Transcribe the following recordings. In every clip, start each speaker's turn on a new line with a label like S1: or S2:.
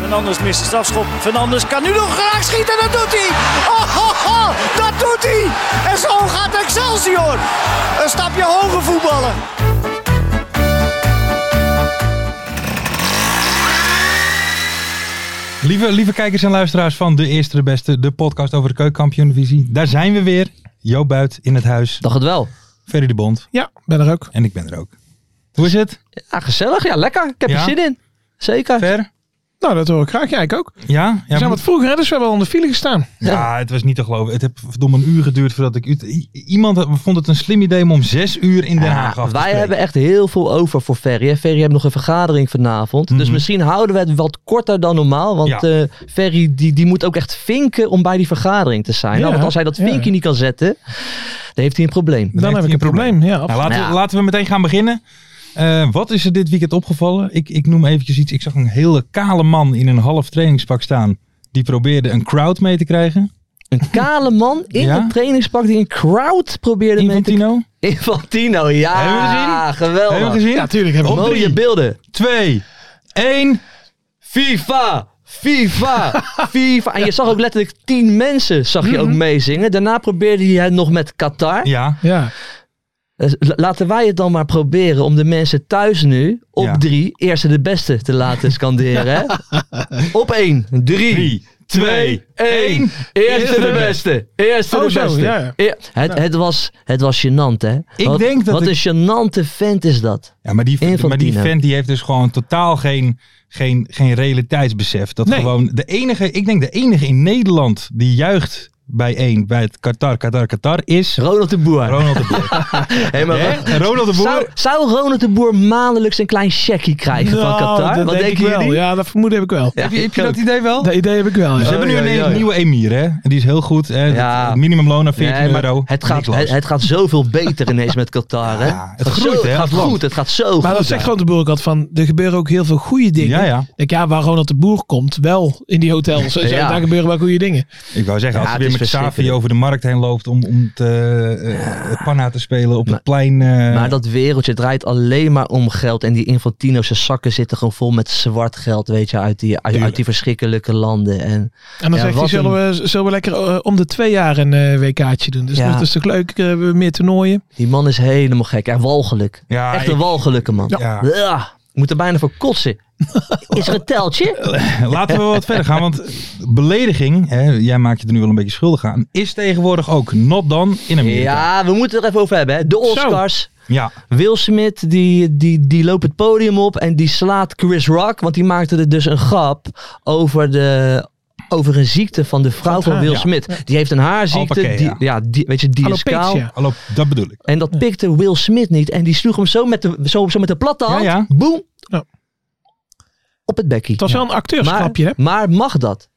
S1: Fernandes mist de strafschop. Fernandes kan nu nog graag schieten. Dat doet hij. Oh, oh, oh, dat doet hij. En zo gaat Excelsior. Een stapje hoger voetballen.
S2: Lieve, lieve kijkers en luisteraars van De Eerste de Beste, de podcast over de keukenkampioenvisie. Daar zijn we weer. Joop Buit in het huis,
S3: Dacht het wel.
S2: Ferry de Bond
S4: Ja, ben er ook.
S2: en ik ben er ook. Hoe is het?
S3: Ja, gezellig. Ja, lekker. Ik heb
S2: Ja?
S3: er zin in. Zeker.
S2: Ver?
S4: Nou, dat hoor ik graag. Ja, ik ook. We
S2: Ja? Ja,
S4: zijn
S2: moet-
S4: wat vroeger, hè, dus we hebben al in de file gestaan.
S2: ja, het was niet te geloven. Het heeft verdomme een uur geduurd voordat ik... u- i- Iemand had- vond het een slim idee om om zes uur in Den
S3: Ja,
S2: Haag af te
S3: wij
S2: spreken.
S3: hebben echt heel veel over voor Ferry. hè. Ferry heeft nog een vergadering vanavond. Dus
S2: Mhm.
S3: misschien houden we het wat korter dan normaal. Want
S2: Ja.
S3: eh, Ferry die, die moet ook echt vinken om bij die vergadering te zijn.
S4: Ja,
S3: Nou, want als hij dat
S4: ja.
S3: vinkje niet kan zetten, dan heeft hij een probleem.
S4: Dan,
S2: heeft
S4: heb ik
S2: hij
S4: een
S2: een
S4: probleem. Ja,
S2: Nou,
S4: absoluut.
S2: laten,
S3: Ja.
S2: we, laten we meteen gaan beginnen. Eh, wat is er dit weekend opgevallen? Ik, ik noem eventjes iets. Ik zag een hele kale man in een half trainingspak staan. Die probeerde een crowd mee te krijgen.
S3: Een kale man in
S2: Ja?
S3: een trainingspak die een crowd probeerde mee
S2: Infantino.
S3: te... Infantino, ja.
S2: Hebben we gezien?
S3: Geweldig.
S2: Hebben we gezien?
S4: ja, tuurlijk hebben we
S2: Op
S3: Mooie
S2: drie.
S3: beelden.
S2: Twee, één.
S3: FIFA! FIFA! FIFA! En je zag ook letterlijk tien mensen zag je ook meezingen. Daarna probeerde hij het nog met Qatar.
S2: Ja,
S4: Ja,
S3: Dus la- Laten wij het dan maar proberen om de mensen thuis nu op
S2: Ja.
S3: drie eerste de beste te laten scanderen. hè? op één, drie,
S2: drie,
S3: twee, één. Eerste de beste. Eerste
S4: Oh,
S3: de
S4: zo,
S3: beste.
S4: ja, ja.
S3: Eer- het, het, was, het was gênant, hè?
S2: Ik
S3: wat,
S2: denk dat
S3: Wat
S2: ik-
S3: een gênante vent is dat.
S2: Ja, maar die,
S3: Infantino.
S2: maar die vent die heeft dus gewoon totaal geen, geen, geen realiteitsbesef. Dat
S4: Nee.
S2: gewoon de enige, ik denk de enige in Nederland die juicht bij één, bij het Qatar, Qatar, Qatar is
S3: Ronald de Boer.
S2: Ronald de Boer.
S3: Hey, maar
S2: Hè?
S3: wacht.
S2: Ronald de
S3: Zou,
S2: Boer.
S3: zou Ronald de Boer maandelijks een klein checkie krijgen van
S4: Nou,
S3: Qatar?
S4: dat
S3: Wat
S4: denk ik
S3: denken
S4: wel.
S3: jullie?
S4: Ja, dat vermoeden heb ik wel.
S3: Ja,
S2: Heb je, heb je
S3: ik
S2: dat idee wel?
S4: Dat idee heb ik wel.
S2: Ze
S4: Ja.
S2: hebben nu
S3: Oh,
S2: een
S3: ja, ja, ja.
S2: nieuwe emir, hè? En die is heel goed. Hè?
S3: Ja.
S2: Het minimumloon naar
S3: Nee,
S2: 14
S3: maar
S2: euro.
S3: het, gaat,
S2: Niklaas.
S3: het, het gaat zoveel beter ineens met Qatar. Hè?
S2: Ja, het groeit, hè,
S3: Het
S2: als
S3: gaat
S2: land.
S3: goed, het gaat zo
S4: Maar dat
S3: goed.
S4: zegt gewoon de boer ook altijd van, er gebeuren ook heel veel goede dingen.
S2: Ja, ja.
S4: Ik denk, ja, waar Ronald de Boer komt, wel in die hotels. en zo,
S3: Ja.
S4: Daar gebeuren wel goede dingen.
S2: Ik wou zeggen,
S3: Ja,
S2: als hij
S3: het
S2: weer
S3: is
S2: met Xavi
S3: verschrikkelijk.
S2: over de markt heen loopt om, om te, eh, eh, panna te spelen op
S3: Maar-
S2: het plein. eh,
S3: Maar dat wereldje draait alleen maar om geld. En die Infantino's zakken zitten gewoon vol met zwart geld, weet je, uit die, uit, uit die verschrikkelijke landen. En
S4: En dan
S3: Ja,
S4: zegt hij,
S3: wat
S4: zullen, we, zullen we lekker eh, om de twee jaar een eh, WK'tje doen? Dus
S3: Ja.
S4: dat is toch leuk, eh, we hebben meer toernooien.
S3: die man is helemaal gek. En walgelijk.
S2: ja,
S3: Echt
S2: ik-
S3: een walgelijke man.
S2: Ja.
S3: Ik moet er bijna voor kotsen. Is er een teltje?
S2: Laten we wat verder gaan, want belediging, hè, jij maakt je er nu wel een beetje schuldig aan, is tegenwoordig ook not dan in Amerika.
S3: Ja, we moeten het er even over hebben. Hè. De Oscars.
S2: Ja,
S3: Will Smith die, die, die loopt het podium op en die slaat Chris Rock. Want die maakte er dus een grap over de... Over een ziekte van de vrouw van
S4: haar,
S3: Will
S2: ja.
S3: Smith. Die heeft een haarziekte.
S2: Alopecia.
S3: Die, ja, die, weet je, die is
S4: Alopecia.
S3: kaal.
S2: hallo, dat bedoel ik.
S3: En dat pikte Will Smith niet. En die sloeg hem zo met de, zo, zo met de platte hand.
S2: Ja, ja.
S3: Boem.
S4: Ja.
S3: Op het bekkie.
S4: Het was wel een
S3: maar,
S4: acteursgrapje, hè?
S3: maar mag dat?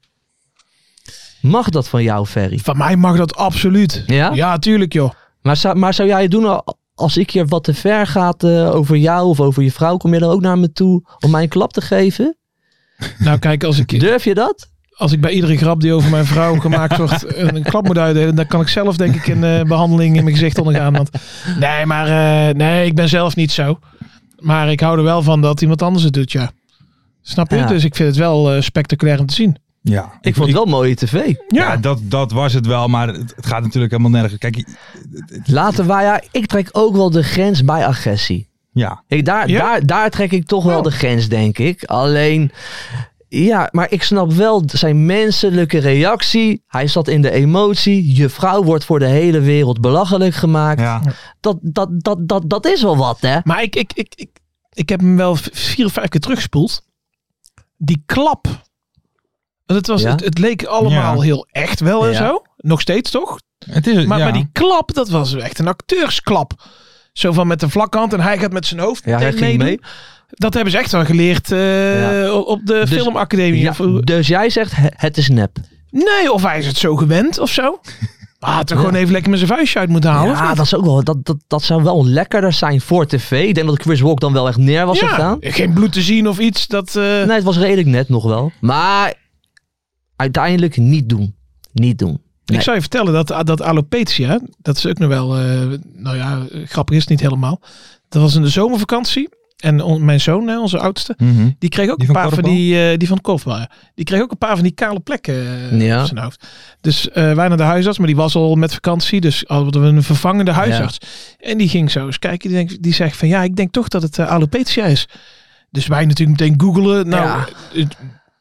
S3: Mag dat van jou, Ferry?
S4: Van mij mag dat absoluut.
S3: Ja?
S4: Ja, tuurlijk, joh.
S3: Maar zou, maar zou jij het doen al- als ik hier wat te ver gaat eh, over jou of over je vrouw? Kom je dan ook naar me toe om mij een klap te geven?
S4: Nou, kijk, als ik,
S3: Durf je dat?
S4: als ik bij iedere grap die over mijn vrouw gemaakt wordt een, een klap moet uitdelen, dan kan ik zelf denk ik een eh, behandeling in mijn gezicht ondergaan. Want nee, maar eh, nee, ik ben zelf niet zo. Maar ik hou er wel van dat iemand anders het doet, ja. Snap je?
S3: Ja.
S4: Dus ik vind het wel eh, spectaculair om te zien.
S2: Ja,
S3: Ik vond het wel mooie tv.
S2: Ja, dat, dat was het wel, maar het, het gaat natuurlijk helemaal nergens. Kijk,
S3: Laten wij, ja, ik trek ook wel de grens bij agressie.
S2: ja,
S3: Ik, daar,
S4: Ja?
S3: daar, daar trek ik toch wel de grens, denk ik. Alleen, Ja, maar ik snap wel zijn menselijke reactie. Hij zat in de emotie. Je vrouw wordt voor de hele wereld belachelijk gemaakt.
S2: Ja.
S3: Dat, dat, dat, dat, dat is wel wat, hè?
S4: Maar ik, ik, ik, ik, ik heb hem wel v- vier of vijf keer teruggespoeld. Die klap. Het, was,
S3: Ja.
S4: het, het leek allemaal
S2: Ja.
S4: heel echt wel en
S3: Ja.
S4: zo. Nog steeds toch?
S2: Het is,
S4: Maar,
S2: ja.
S4: maar die klap, dat was echt een acteursklap. Zo van met de vlakkant en hij gaat met zijn hoofd
S3: Ja, hij
S4: meteen
S3: ging
S4: meedoen.
S3: mee.
S4: Dat hebben ze echt wel geleerd eh,
S3: Ja.
S4: op- op de
S3: Dus-
S4: filmacademie.
S3: Ja,
S4: Of hoe-
S3: dus jij zegt, "He- het is nep.
S4: nee, of hij is het zo gewend of zo. Maar had er gewoon even lekker met zijn vuistje uit moeten halen. of
S3: Ja,
S4: niet?
S3: dat, is ook wel, dat, dat, dat zou wel lekkerder zijn voor tv. Ik denk dat Chris Rock dan wel echt neer was
S4: Ja,
S3: gegaan.
S4: geen bloed te zien of iets. Dat, eh,
S3: Nee, het was redelijk net nog wel. Maar uiteindelijk niet doen. Niet doen. nee.
S4: Ik zou je vertellen dat, dat alopecia, dat is ook nog wel, eh, nou ja, grappig is het niet helemaal. Dat was in de zomervakantie. En on- mijn zoon, hè, onze oudste,
S2: Mhm.
S4: Die kreeg ook
S2: Die
S4: een
S2: van
S4: paar van
S2: korfbal?
S4: die, eh, die van korfbal. ja. Die kreeg ook een paar van die kale plekken eh,
S3: Ja.
S4: op zijn hoofd. Dus eh, wij naar de huisarts, maar die was al met vakantie. Dus hadden we een vervangende huisarts. En die ging zo eens kijken. Die, denkt, die zegt van ja, ik denk toch dat het eh, alopecia is. Dus wij natuurlijk meteen googelen. Nou,
S3: Ja.
S4: het-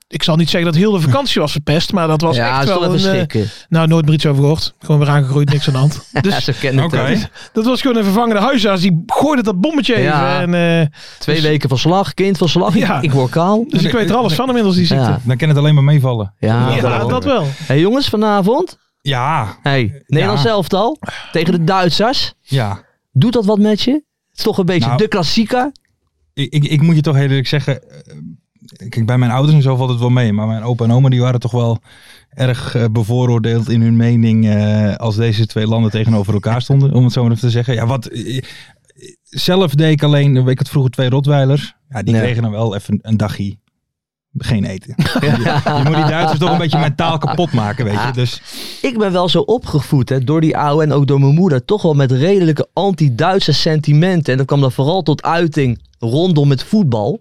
S4: ik zal niet zeggen dat heel de vakantie was verpest. Maar dat was
S3: ja,
S4: echt
S3: het is
S4: wel
S3: wel even
S4: een... eh,
S3: schrikken.
S4: nou, nooit meer iets over gehoord. Gewoon weer aangegroeid, niks aan de hand.
S3: ja,
S4: Dus
S3: ze kennen het.
S2: Oké.
S3: hè.
S4: dat was gewoon een vervangende huisarts. Die gooide dat bommetje
S3: Ja.
S4: even. En, eh,
S3: Twee weken van slag, kind van slag. Ik-
S4: Ja.
S3: Ik, word kaal.
S4: dus ik weet er alles van inmiddels, die ziekte.
S3: Ja,
S2: Dan kan het alleen maar meevallen.
S3: ja,
S4: Ja,
S3: daarom.
S4: dat wel.
S3: Hey jongens, vanavond.
S2: Ja,
S3: Hey, Nederlands
S2: Ja.
S3: elftal tegen de Duitsers.
S2: ja.
S3: Doet dat wat met je? Het is toch een beetje
S2: Nou.
S3: de klassieker.
S2: Ik, ik, ik moet je toch heel eerlijk zeggen. eh, Kijk, bij mijn ouders en zo valt het wel mee. Maar mijn opa en oma die waren toch wel erg eh, bevooroordeeld in hun mening. eh, als deze twee landen tegenover elkaar stonden. Om het zo maar even te zeggen. Ja, wat. eh, eh, Zelf deed ik alleen. eh, Ik had vroeger twee Rotweilers. Ja, die
S3: Ja.
S2: kregen dan wel even een dagje. Geen eten.
S3: Ja. Ah,
S2: Je moet die Duitsers toch een beetje mentaal kapot maken, weet je. Dus
S3: Ik ben wel zo opgevoed hè, door die oude en ook door mijn moeder. Toch wel met redelijke anti-Duitse sentimenten. En dat kwam dan vooral tot uiting rondom het voetbal.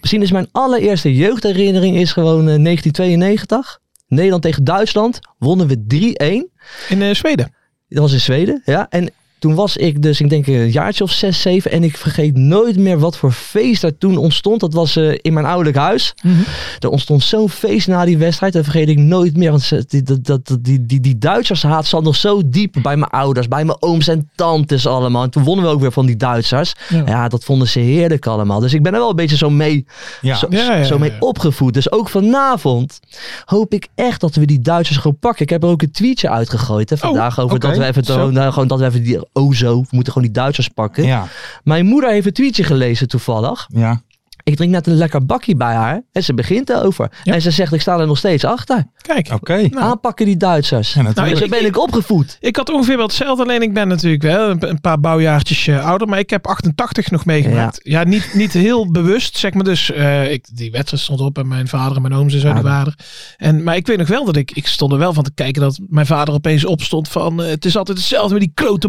S3: Misschien is mijn allereerste jeugdherinnering is gewoon eh, 1992. Nederland tegen Duitsland. Wonnen we 3-1.
S4: In eh, Zweden.
S3: Dat was in Zweden. Ja. En toen was ik dus, ik denk een jaartje of 6, 7. En ik vergeet nooit meer wat voor feest daar toen ontstond. Dat was eh, in mijn ouderlijk huis.
S4: Mhm.
S3: Er ontstond zo'n feest na die wedstrijd. Dat vergeet ik nooit meer. Want ze- die, dat, dat, dat- die, die, die Duitsershaat zat nog zo diep bij mijn ouders, bij mijn ooms en tantes allemaal. En toen wonnen we ook weer van die Duitsers. Ja,
S4: Ja.
S3: dat vonden ze heerlijk allemaal. Dus ik ben er wel een beetje zo mee,
S2: ja.
S3: zo,
S4: Ja, ja,
S3: zo mee
S4: ja.
S3: opgevoed. Dus ook vanavond hoop ik echt dat we die Duitsers gewoon pakken. Ik heb er ook een tweetje uitgegooid hè, vandaag
S4: Oh,
S3: over
S2: oké.
S3: dat we even,
S2: Zo.
S3: gewoon, nou, gewoon dat we even die Ozo, we moeten gewoon die Duitsers pakken.
S2: Ja,
S3: Mijn moeder heeft een tweetje gelezen toevallig.
S2: ja.
S3: Ik drink net een lekker bakkie bij haar. En ze begint erover.
S4: Ja.
S3: En ze zegt, ik sta er nog steeds achter.
S4: Kijk.
S2: Oké.
S4: Nou.
S3: Aanpakken die Duitsers.
S2: Ja, natuurlijk.
S3: nou,
S4: Nou,
S3: zo
S4: ik-
S3: ben ik opgevoed.
S4: Ik had ongeveer wel hetzelfde, alleen ik ben natuurlijk wel een, een paar bouwjaartjes eh, ouder, maar ik heb 88 nog meegemaakt. Ja, niet, niet heel bewust, zeg maar. Dus eh, ik, die wedstrijd stond op en mijn vader en mijn ooms en zo, die waren er. En, maar ik weet nog wel dat ik, ik stond er wel van te kijken dat mijn vader opeens opstond van, eh, het is altijd hetzelfde met die klote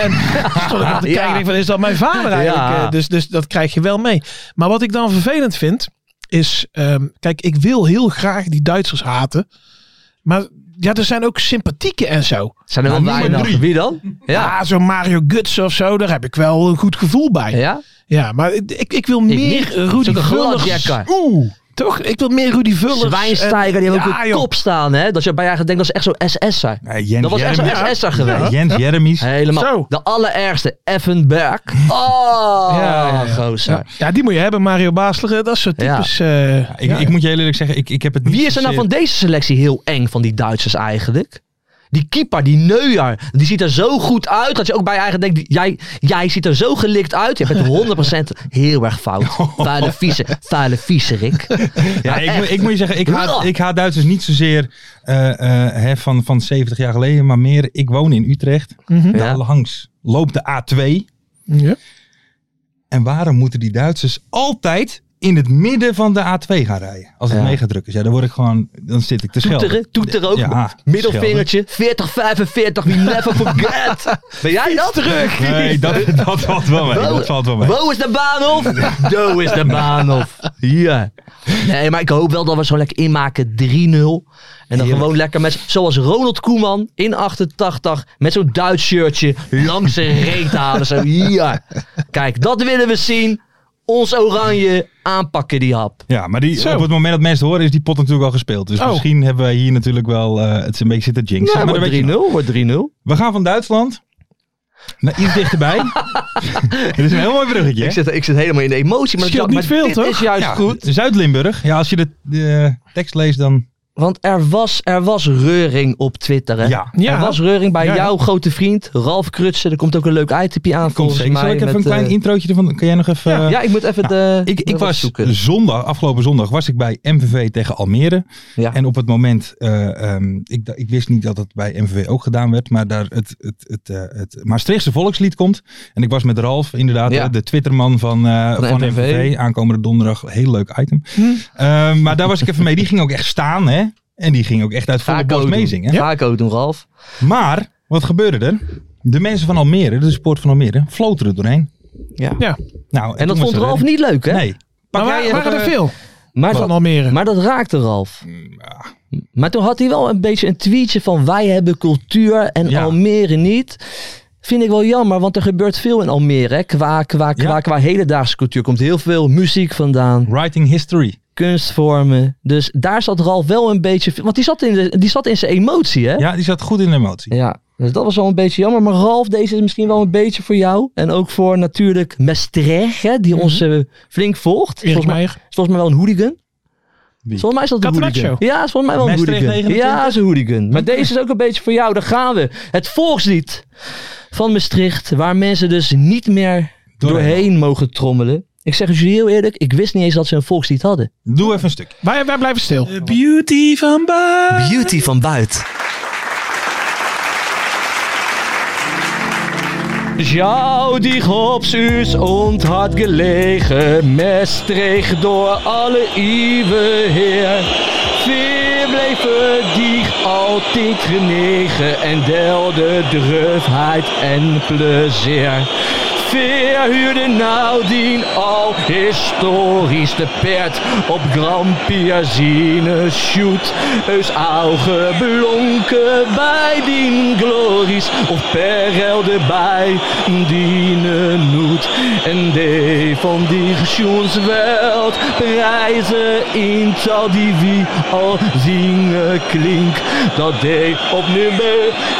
S4: en toen stond ik wel te kijken,
S3: Ja.
S4: ik denk van, is dat mijn vader eigenlijk?
S3: Ja.
S4: Eh, dus, dus dat krijg je wel mee. Maar wat ik dan vervelend vind, is, ehm, kijk, ik wil heel graag die Duitsers haten, maar ja, er zijn ook sympathieke en zo.
S3: Zijn er wel
S2: Nou, nummer
S3: weinig.
S2: drie.
S3: Wie dan? Ja.
S4: Ja, Ah, zo'n Mario Guts of zo, daar heb ik wel een goed gevoel bij. Ja,
S3: Ja?
S4: maar ik, ik- ik wil meer
S3: niet.
S4: Rudy
S3: Zulke
S4: Vullers.
S3: gladjakker.
S4: Oeh, toch? Ik wil meer Rudy Vullers.
S3: Zwijnsteiger, die
S4: En-
S3: hebben ook
S4: eh, ja,
S3: een
S4: joh.
S3: kop staan. Hè? Dat je bij haar denkt, dat is echt zo'n SS'er.
S2: Nee, Jens
S3: Dat was echt zo'n
S2: Jeremies.
S3: SS'er geweest.
S2: Ja, Jens Jeremies.
S3: Helemaal.
S4: Zo.
S3: De allerergste, Effenberg. Oh,
S4: Ja, ja, ja.
S3: gozer.
S4: Ja. Ja, die moet je hebben, Mario Baasler. Dat soort
S3: Ja.
S4: types. eh,
S2: Ik,
S4: ja.
S2: ik moet je heel eerlijk zeggen, ik, ik heb het niet
S3: Wie is er nou
S2: zozeer-
S3: van deze selectie heel eng van die Duitsers eigenlijk? Die keeper, die Neuer, die ziet er zo goed uit dat je ook bij je eigen denkt, jij, jij ziet er zo gelikt uit. Je bent 100% heel erg fout. Vuile vieze, vuile vieze Rick.
S2: Ja, ik, moet-
S3: echt.
S2: ik moet je zeggen, ik haat,
S3: Ugh.
S2: ik haat Duitsers niet zozeer eh, eh, hè, van, van 70 jaar geleden, maar meer, ik woon in Utrecht. Daar langs loopt de A2.
S4: Ja.
S2: En waarom moeten die Duitsers altijd in het midden van de A2 gaan rijden? Als het
S3: Ja.
S2: megadruk is. Ja, dan word ik gewoon, dan zit ik te schelden.
S3: Toeteren, toeteren ook.
S2: Ja,
S3: Middelvingertje, 40, 45, we never forget. Ben jij dat? Terug.
S2: Nee, dat, dat valt wel mee. Dat valt wel mee.
S3: Wo is de Baanhof. Do is de Baanhof. Ja. Nee, maar ik hoop wel dat we zo lekker inmaken 3-0. En dan gewoon lekker met, zoals Ronald Koeman in 88, met zo'n Duits shirtje langs zijn reet halen. Zo, ja. Kijk, dat willen we zien. ons oranje aanpakken die hap.
S2: Ja, maar die,
S4: Zo.
S2: op het moment dat mensen het horen is die pot natuurlijk al gespeeld. Dus
S4: Oh.
S2: misschien hebben wij hier natuurlijk wel eh, het een beetje zitten jinxen.
S3: Ja,
S2: maar dat
S3: wordt
S2: weet je
S3: 3-0,
S2: nooit.
S3: wordt 3-0.
S2: We gaan van Duitsland naar iets dichterbij. Dit is een heel mooi bruggetje. hè?
S3: Ik, zit, ik zit helemaal in de emotie. Maar,
S4: Scheelt
S3: ja,
S4: niet
S3: maar
S4: veel,
S3: dit
S4: toch?
S3: is juist
S2: Ja,
S3: goed.
S2: Zuid-Limburg. Ja, als je de, de tekst leest dan...
S3: Want er was, er was reuring op Twitter, hè?
S2: Ja.
S4: Ja.
S3: Er was reuring bij
S4: Ja, ja.
S3: jouw grote vriend, Ralf Krutsen. Er komt ook een leuk itempje aan
S2: Komt
S3: volgens
S2: zeker.
S3: mij.
S2: Zal ik even
S3: met,
S2: een klein
S3: eh,
S2: introotje ervan... Kan jij nog even... eh,
S3: Ja, ik moet even de...
S2: Ik, ik
S3: wat
S2: was
S3: zoeken.
S2: zondag, afgelopen zondag, was ik bij MVV tegen Almere.
S3: Ja.
S2: En op het moment, eh, ehm, ik, da- ik wist niet dat het bij MVV ook gedaan werd, maar daar het, het, het, eh, het Maastrichtse volkslied komt. En ik was met Ralf, inderdaad,
S3: Ja.
S2: eh, de Twitterman van, eh,
S3: Van de
S2: van
S3: MVV.
S2: MVV. Aankomende donderdag, heel leuk item.
S3: Hm.
S2: Eh, maar daar was ik even mee. Die ging ook echt staan, hè. En die ging ook echt uit volle
S3: Vaak
S2: borst
S3: ook doen.
S2: meezingen.
S3: Ja. Vaak ook doen, Ralf.
S2: Maar, wat gebeurde er? De mensen van Almere, de support van Almere, floten er doorheen.
S3: Ja.
S4: Ja.
S2: Nou,
S3: En dat
S2: toen was
S3: vond
S2: er-
S3: Ralf niet leuk, hè?
S2: Nee.
S4: Maar
S2: Pak
S4: waar-
S2: jij-
S4: waren er veel
S3: Maar,
S4: van
S3: dat,
S4: Almere? Mm,
S3: maar dat raakte Ralf. Maar toen had hij wel een beetje een tweetje van wij hebben cultuur en
S2: Ja.
S3: Almere niet. Vind ik wel jammer, want er gebeurt veel in Almere. hè. Qua, qua, qua,
S2: Ja.
S3: qua hedendaagse cultuur komt heel veel muziek vandaan.
S2: Writing history.
S3: kunstvormen. Dus daar zat Ralf wel een beetje... Want die zat in, de, die zat in zijn emotie, hè?
S2: Ja, die zat goed in de emotie.
S3: Ja, dus dat was wel een beetje jammer. Maar Ralf, deze is misschien wel een beetje voor jou. En ook voor natuurlijk Mestrecht, hè, die ons eh, flink volgt.
S4: Mhm. Erik
S3: Volgens mij,
S4: Meijer.
S3: is volgens mij wel een hooligan.
S2: Wie?
S3: Volgens mij is dat een
S4: Catenaccio.
S3: hooligan. Ja, is volgens mij wel een
S2: Maastricht
S3: hooligan.
S2: 29?
S3: Ja, is een hooligan. Maar deze is ook een beetje voor jou. Daar gaan we. Het volkslied van Maastricht, waar mensen dus niet meer
S2: Doorheen.
S3: doorheen mogen trommelen. Ik zeg het jullie heel eerlijk, ik wist niet eens dat ze een volkslied hadden.
S2: Doe even een stuk.
S4: Wij, wij blijven stil.
S2: Eh,
S3: Beauty van buiten. Jou die hops u's onthard gelegen, mestreeg door alle iwe heer. Veer bleven die altijd genegen en delde drufheid en plezier. Veer huurde nadien al historisch de pert op Grand Piazine shoot. Eus auge blonken bij dien glories of perelde bij dien noet. En de van die gesjoensweld prijzen in tal die wie al zingen klink. Dat deed op nummer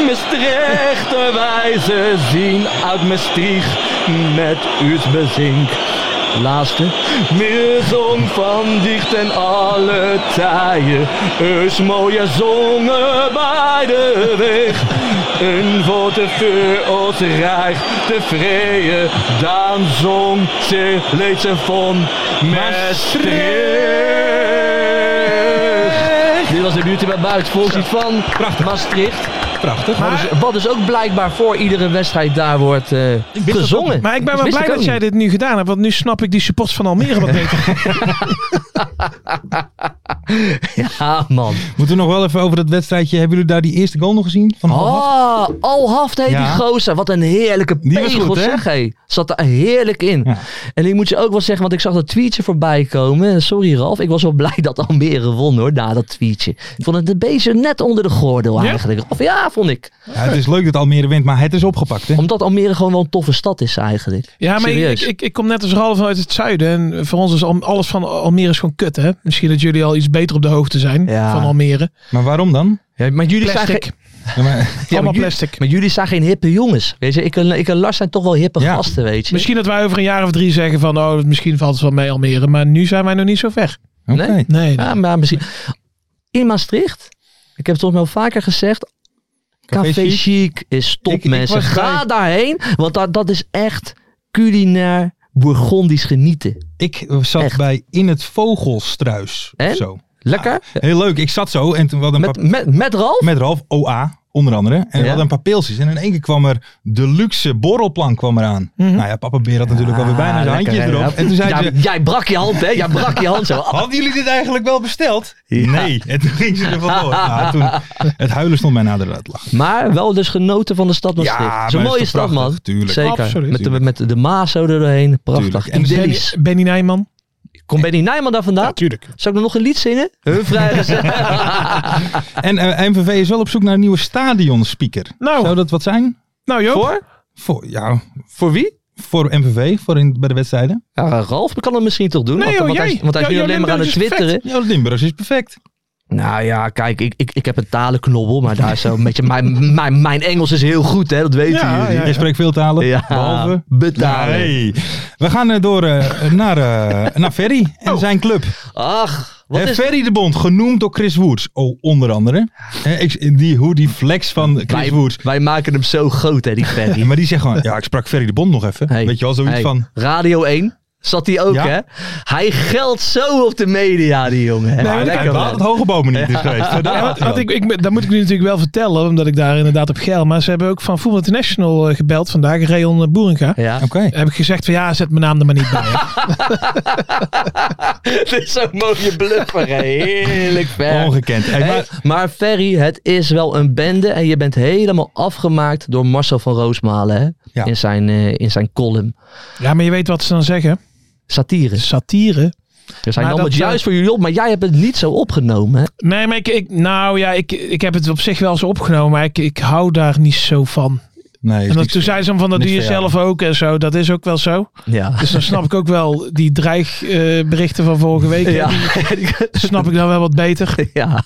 S3: Maastricht wijze zien uit Maastricht met u's bezink. Laatste. Meer zong van dicht en alle tijden. Eus mooie zongen bij de weg. Een voor de vuur ons rijk te vrije. Daan zong ze leed ze van Maastricht. Dit was de beauty bij buiten. Volgens van Maastricht.
S2: Prachtig.
S3: Wat dus, wat dus ook blijkbaar voor iedere wedstrijd daar wordt eh, gezongen.
S4: Maar ik
S3: Dat
S4: ben wel
S3: wist
S4: blij
S3: ik ook
S4: dat jij
S3: niet.
S4: dit nu gedaan hebt, want nu snap ik die supports van Almere wat beter.
S3: Ja, Ah, man.
S2: Moeten we nog wel even over dat wedstrijdje. Hebben jullie daar die eerste goal nog gezien? Van Halhaf?
S3: Ah, Alhaft heet
S2: Ja.
S3: die gozer. Wat een heerlijke
S2: Die was
S3: pegel
S2: goed, hè?
S3: zeg hé. Zat er heerlijk in.
S2: Ja.
S3: En ik moet je ook wel zeggen, want ik zag dat tweetje voorbij komen. Sorry Ralf, ik was wel blij dat Almere won hoor, na dat tweetje. Ik vond het een beetje net onder de gordel
S4: Ja?
S3: eigenlijk. Of ja, vond ik.
S2: Ja, het is leuk dat Almere wint, maar het is opgepakt. Hè?
S3: Omdat Almere gewoon wel een toffe stad is eigenlijk.
S4: Ja, maar ik,
S3: Serieus.
S4: ik, ik kom net als Ralf uit het zuiden. En voor ons is al- alles van Almere is gewoon kut, hè? Misschien dat jullie al iets beter op de hoogte zijn
S3: Ja.
S4: van Almere.
S2: Maar waarom dan?
S3: Ja, maar jullie
S4: Plastic.
S2: Ja, maar,
S3: Ja, maar
S4: Allemaal
S3: jullie-
S4: plastic.
S3: Maar jullie zijn geen hippe jongens. Weet je, ik en, ik en Lars zijn toch wel hippe
S2: Ja.
S3: gasten, weet je.
S4: Misschien dat wij over een jaar of drie zeggen van, oh, misschien valt het wel mee Almere. Maar nu zijn wij nog niet zo ver.
S2: Oké.
S3: Nee.
S4: Nee.
S2: Ah,
S3: Ja, maar misschien. In Maastricht, ik heb het toch wel vaker gezegd.
S2: Café
S3: Café,
S2: Chic.
S3: Chic is top,
S2: Ik- ik
S3: mensen.
S2: was
S3: Ga
S2: bij-
S3: daarheen, want dat, dat is echt culinair Bourgondisch genieten.
S2: Ik zat
S3: Echt.
S2: bij In het Vogelstruis.
S3: En?
S2: Zo.
S3: Lekker?
S2: Heel leuk. Ik zat zo en toen hadden we een
S3: Met, met, met Ralf?
S2: paar- met Ralf, OA onder andere. En we
S3: Ja.
S2: hadden een paar pilsjes. En in één keer kwam er de luxe borrelplank kwam eraan. Nou ja, papa Beer had natuurlijk alweer bijna zijn
S3: Ah, Mhm. lekker,
S2: handjes
S3: hè,
S2: erop.
S3: ja.
S2: En toen zei
S3: Ja,
S2: ze,
S3: Jij brak je hand, hè? Jij brak je hand zo.
S2: Hadden jullie dit eigenlijk wel besteld? Nee. En toen ging ze er vandoor. Nou, toen, het huilen stond mij nader uit lachen.
S3: Maar wel dus genoten van de stad Maastricht.
S2: Ja,
S3: Zo'n
S2: maar
S3: mooie
S2: is toch
S3: stad,
S2: prachtig?
S3: man.
S2: Tuurlijk.
S3: Zeker.
S4: Absoluut.
S3: Met, de, met de Maas zo er doorheen. Prachtig.
S2: Tuurlijk. En
S4: Benny,
S3: Idyllisch.
S4: Benny Nijman.
S3: Komt Benny Nijman daar vandaan?
S4: Natuurlijk.
S3: Zou ik nog een lied zingen? Hun vrijgezel.
S2: En eh, MVV is wel op zoek naar een nieuwe stadionspeaker.
S4: Nou.
S2: Zou dat wat zijn?
S4: Nou Joop,
S3: Voor?
S2: Voor, ja,
S3: Voor wie?
S2: voor, voor MVV voor in, bij de wedstrijden?
S3: Ja, Ralf kan het misschien toch doen?
S4: Nee,
S3: want,
S4: joh,
S3: want hij,
S4: jij.
S3: want hij is
S4: Ja,
S3: nu
S4: jij
S3: alleen maar aan
S4: bent
S3: het
S4: dus perfect.
S3: twitteren.
S2: Ja, Limburgs is perfect.
S3: Nou ja, kijk, ik, ik, ik heb een talenknobbel, maar daar is zo een beetje... Mijn, mijn, mijn Engels is heel goed, hè, dat weten
S4: Ja,
S3: jullie.
S4: ja,
S2: Jij spreekt veel talen,
S3: Ja,
S2: behalve...
S3: betalen.
S2: Nee. We gaan eh, door eh, naar, eh, naar Ferry en zijn club.
S3: Ach, wat
S2: Hè,
S3: is...
S2: Ferry de Bond, genoemd door Chris Woods. Oh, onder andere. Hè, ik, die, hoe die flex van Chris
S3: Wij,
S2: Woods.
S3: wij maken hem zo groot, hè, die Ferry.
S2: Maar die zegt gewoon, ja, ik sprak Ferry de Bond nog even.
S3: Hey,
S2: Weet je wel, zoiets
S3: hey,
S2: van...
S3: Radio 1 zat hij ook,
S2: Ja.
S3: hè? Hij geldt zo op de media, die jongen. hè?
S2: Nou,
S3: Lekker,
S2: hij
S3: man.
S2: baalt dat hoge bomen niet is geweest. Zo, dat
S4: Ah, Ja,
S2: baalt
S4: want,
S2: hij
S4: want
S2: wel.
S4: ik, ik, dat moet ik nu natuurlijk wel vertellen, omdat ik daar inderdaad op geil. Maar ze hebben ook van Voetbal International eh, gebeld vandaag, Rayon Boeringa.
S3: Ja,
S2: Oké.
S4: Heb ik gezegd van ja, zet mijn naam er maar niet bij. hè.
S3: dit is zo'n mooie bluffer, hè. Heerlijk, Ferry.
S2: Ongekend. Hey,
S3: Hey,
S2: maar-
S3: maar Ferry, het is wel een bende en je bent helemaal afgemaakt door Marcel van Roosmalen, hè?
S2: Ja.
S3: In, zijn, eh, in zijn column.
S4: Ja, maar je weet wat ze dan zeggen.
S3: Satire.
S4: Satire.
S3: We zijn
S4: Maar
S3: nam
S4: dat,
S3: het
S4: eh,
S3: juist voor jullie op, maar jij hebt het niet zo opgenomen. Hè?
S4: Nee, maar ik, ik, nou ja, ik, ik heb het op zich wel eens opgenomen, maar ik, ik hou daar niet zo van.
S2: nee, is
S4: En dat,
S2: niks-
S4: toen zei ze hem van dat
S2: niks
S4: doe je
S2: voor jou.
S4: zelf ook en zo. Dat is ook wel zo.
S3: Ja.
S4: Dus dan snap ik ook wel die dreigberichten van vorige week. hè,
S3: Ja.
S4: die snap ik dan wel wat beter.
S3: ja.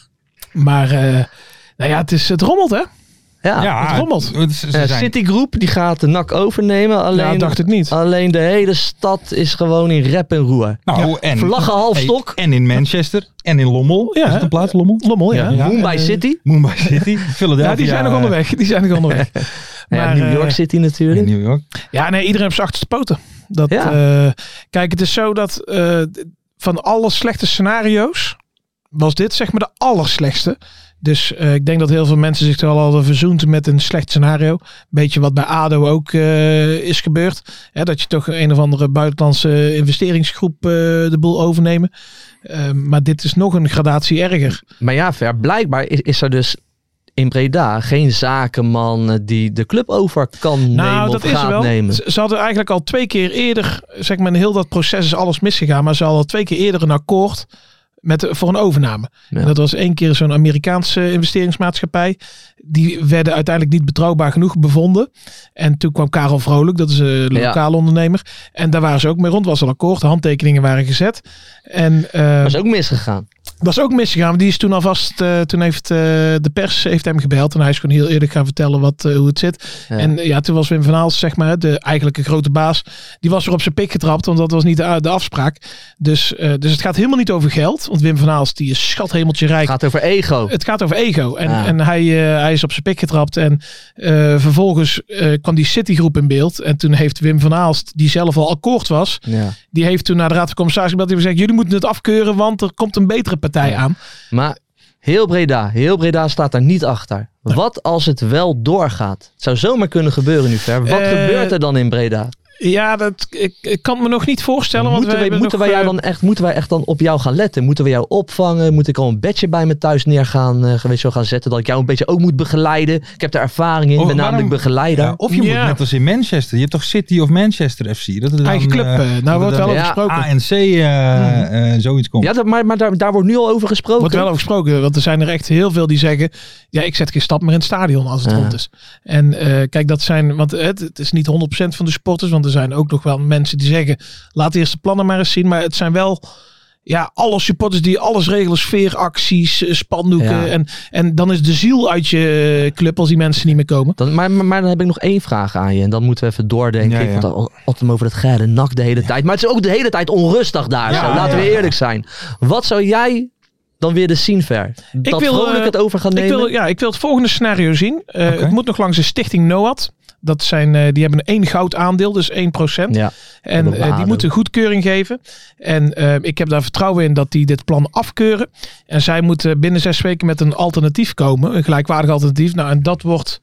S4: Maar eh, nou ja, het, is, het rommelt hè.
S3: Ja.
S2: ja,
S4: het rommelt.
S2: het- het- ze
S3: Eh,
S2: zijn-
S3: Citigroep die gaat de NAC overnemen. Alleen,
S4: ja, dacht ik niet.
S3: alleen de hele stad is gewoon in rep en roer.
S2: Nou, en,
S3: Vlaggen half
S2: hey,
S3: stok.
S2: en in Manchester. En in Lommel.
S4: Ja.
S2: Is het een plaats, Lommel?
S4: Lommel, ja.
S2: Ja.
S3: Mumbai
S4: eh,
S3: City.
S2: Mumbai City. Philadelphia.
S4: Ja, die zijn nog
S2: eh,
S4: onderweg. Die zijn nog onderweg.
S3: ja,
S4: maar,
S3: New York
S4: eh,
S3: City
S2: in
S3: natuurlijk.
S2: New York.
S4: Ja, nee, iedereen heeft zijn achterste poten. Dat,
S3: Ja.
S4: eh, kijk, het is zo dat eh, d- van alle slechte scenario's was dit zeg maar de allerslechtste. Dus eh, ik denk dat heel veel mensen zich er al hadden verzoend met een slecht scenario. Beetje wat bij ADO ook eh, is gebeurd. Hè, dat je toch een of andere buitenlandse investeringsgroep eh, de boel overnemen. Eh, maar dit is nog een gradatie erger.
S3: Maar ja, ver, blijkbaar is, is er dus in Breda geen zakenman eh, die de club over kan
S4: Nou,
S3: nemen of gaat nemen.
S4: Ze ze hadden eigenlijk al twee keer eerder, zeg maar in heel dat proces is alles misgegaan, maar ze hadden al twee keer eerder een akkoord met, de- voor een overname.
S3: Ja.
S4: En dat was één keer zo'n Amerikaanse investeringsmaatschappij. Die werden uiteindelijk niet betrouwbaar genoeg bevonden. En toen kwam Karel Vrolijk, dat is een
S3: Ja.
S4: lokale ondernemer. En daar waren ze ook mee rond, was al akkoord, de handtekeningen waren gezet. En eh,
S3: Dat is ook misgegaan.
S4: dat is ook misgegaan. want Die is toen alvast. eh, toen heeft eh, de pers heeft hem gebeld. En hij is gewoon heel eerlijk gaan vertellen wat, eh, hoe het zit.
S3: Ja.
S4: En eh, ja, toen was Wim van Aals, zeg maar, de eigenlijke grote baas. Die was er op zijn pik getrapt. Want dat was niet de, de afspraak. Dus, eh, dus het gaat helemaal niet over geld. Want Wim van Aals, die is schathemeltje rijk.
S3: Het gaat over ego.
S4: Het gaat over ego. En,
S3: Ja.
S4: en hij, eh, hij is op zijn pik getrapt. En eh, vervolgens eh, kwam die Citigroep in beeld. En toen heeft Wim van Aalst, die zelf al akkoord was.
S3: Ja.
S4: Die heeft toen naar de Raad van Commissarissen gebeld. Die heeft gezegd, jullie moeten het afkeuren. Want er komt een betere partij
S3: Ja.
S4: aan.
S3: Maar heel Breda, heel Breda staat daar niet achter. Wat als het wel doorgaat? Het zou zomaar kunnen gebeuren nu, Ver. Wat
S4: Eh,
S3: gebeurt er dan in Breda?
S4: Ja, dat, ik, ik kan het me nog niet voorstellen. Want
S3: Moeten, wij,
S4: hebben
S3: moeten,
S4: nog,
S3: wij jou
S4: eh,
S3: dan echt, moeten wij echt dan op jou gaan letten? Moeten we jou opvangen? Moet ik al een bedje bij me thuis neer gaan, eh, weet je wel, gaan zetten? Dat ik jou een beetje ook moet begeleiden? Ik heb daar ervaring in, ik
S2: Oh,
S3: ben
S2: waarom-
S3: namelijk begeleider.
S2: Ja, of je
S4: Ja.
S2: moet net als in Manchester. Je hebt toch City of Manchester FC? Dat er dan,
S4: Eigen club.
S2: eh,
S4: eh, nou, wordt wel
S3: ja,
S4: over gesproken.
S2: ANC eh,
S4: Mm.
S2: eh, zoiets komt.
S3: Ja, dat, maar, maar daar, daar wordt nu al over gesproken.
S4: Wordt wel over gesproken, want er zijn er echt heel veel die zeggen: Ja, ik zet geen stap meer in het stadion als het
S3: Ja.
S4: rond is. En eh, kijk, dat zijn, want het, het is niet 100% van de supporters, want er zijn ook nog wel mensen die zeggen: Laat eerst de plannen maar eens zien. Maar het zijn wel, ja, alle supporters die alles regelen: sfeeracties, eh, spandoeken.
S3: Ja.
S4: En, en dan is de ziel uit je eh, club als die mensen niet meer komen.
S3: Dan, maar, maar, maar dan heb ik nog één vraag aan je. En dan moeten we even
S2: Ja,
S3: doordenken. Ik
S2: ja.
S3: vond het al- altijd over dat geile nak de hele tijd. Maar het is ook de hele tijd onrustig daar.
S2: Ja,
S3: zo. Laten
S2: ja,
S3: we
S2: ja.
S3: eerlijk zijn. Wat zou jij dan weer eens zien, Ver? Dat
S4: wil,
S3: Vrolijk
S4: eh,
S3: het over gaan nemen?
S4: Ik wil, ja, ik wil het volgende scenario zien. Eh,
S2: Oké.
S4: Het moet nog langs de stichting NOAD. Dat zijn, eh, die hebben één goud aandeel, dus 1%.
S3: ja.
S4: En
S3: Hebben we
S4: eh, die
S3: ADO.
S4: moeten goedkeuring geven. En eh, ik heb daar vertrouwen in dat die dit plan afkeuren. En zij moeten binnen zes weken met een alternatief komen. Een gelijkwaardig alternatief. Nou, en dat wordt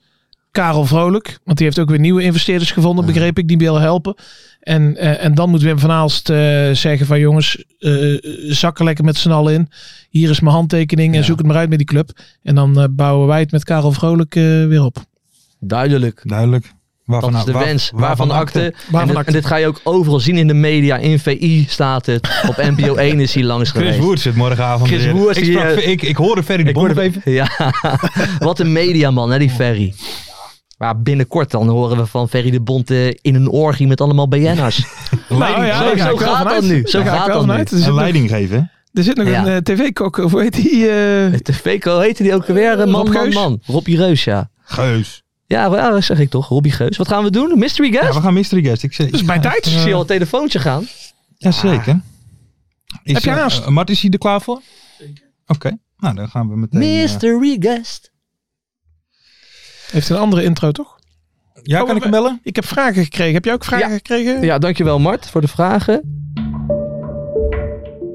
S4: Karel Vrolijk. Want die heeft ook weer nieuwe investeerders gevonden, begreep ik. Die willen helpen. En, eh, en dan moet Wim van Aalst eh, zeggen van jongens, eh zakken lekker met z'n allen in. Hier is mijn handtekening en zoek het maar uit met die club. En dan eh, bouwen wij het met Karel Vrolijk eh, weer op.
S3: Duidelijk.
S2: Duidelijk. Waarvan, nou-
S3: Dat is de
S2: waar-
S3: wens. Waarvan akte. En,
S4: Waarvan
S3: dit-
S4: akte.
S3: en dit ga je ook overal zien in de media. In VI staat het. Op NPO 1 is hij langs
S2: Chris
S3: geweest.
S2: Woerts zit morgenavond
S3: Chris
S2: weer.
S3: Woerts
S2: ik,
S3: die,
S2: sprak-
S3: eh,
S2: ik, ik hoorde Ferry de Bond even.
S3: Oh. Ja, wat een mediaman hè, die Ferry. Maar binnenkort dan horen we van Ferry de Bond eh, in een orgie met allemaal BN'ers.
S4: Nou ja,
S3: zo
S4: daar ga ik wel
S3: gaat dat
S4: vanuit.
S3: nu.
S4: Daar
S3: Zo
S4: ga ik
S3: gaat
S4: wel
S3: dat nu.
S4: vanuit. Dus Er zit
S2: En
S4: nog-
S2: leiding geven. hè?
S4: Er zit nog
S3: Ja.
S4: een eh, tv-kok, of hoe heet die? eh,
S3: De VKO heette die ook alweer? eh, Man,
S4: Rob
S3: man,
S4: Geus?
S3: man. Robbie Reus, ja.
S2: Geus.
S3: Ja, wel, ja, dat zeg ik toch. Robbie Geus. Wat gaan we doen? Mystery
S2: Ja,
S3: guest?
S2: we gaan mystery guest. Ik,
S4: dat is
S2: zeg,
S4: bij tijd.
S3: Ik zie al een telefoontje gaan.
S2: Jazeker. Is,
S4: Heb je
S2: eh,
S4: haast?
S2: eh, Mart, is hij er klaar voor? Zeker. Oké, nou dan gaan we meteen. eh,
S3: Mystery guest.
S4: Heeft een andere intro, toch?
S2: eh, ja,
S4: Oh,
S2: kan ik hem bellen?
S4: Ik heb vragen gekregen. Heb jij ook vragen
S3: Ja.
S4: gekregen?
S3: Ja, dankjewel Mart voor de vragen.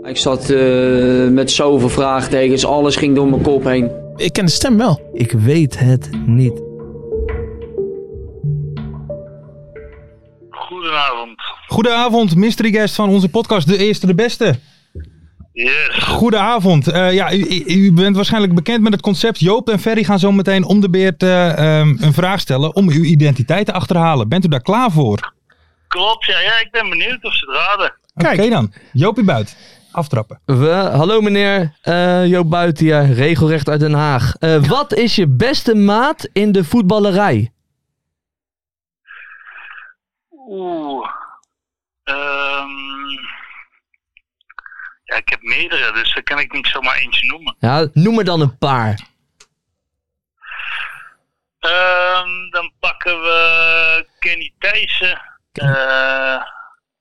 S5: Ik zat eh, met zoveel vraagtekens, alles ging door mijn kop heen.
S4: Ik ken de stem wel.
S3: Ik weet het niet.
S6: Goedenavond.
S2: Goedenavond, mystery guest van onze podcast De Eerste de Beste.
S6: Yes.
S2: Goedenavond. Eh, ja, u, u- u bent waarschijnlijk bekend met het concept. Joop en Ferry gaan zo meteen om de beurt eh, ehm, een vraag stellen om uw identiteit te achterhalen. Bent u daar klaar voor?
S6: Klopt, ja, ja, ik ben benieuwd of ze het raden.
S2: Oké
S4: Kijk.
S2: dan. Joopie buit. Aftrappen.
S3: We, hallo meneer eh Joop Buiten hier, regelrecht uit Den Haag. Eh, wat is je beste maat in de voetballerij?
S6: Oeh. Ehm. ja, ik heb meerdere, dus daar kan ik niet zomaar eentje noemen.
S3: Ja, noem er dan een paar.
S6: Ehm, dan pakken we Kenny Thijssen. eh,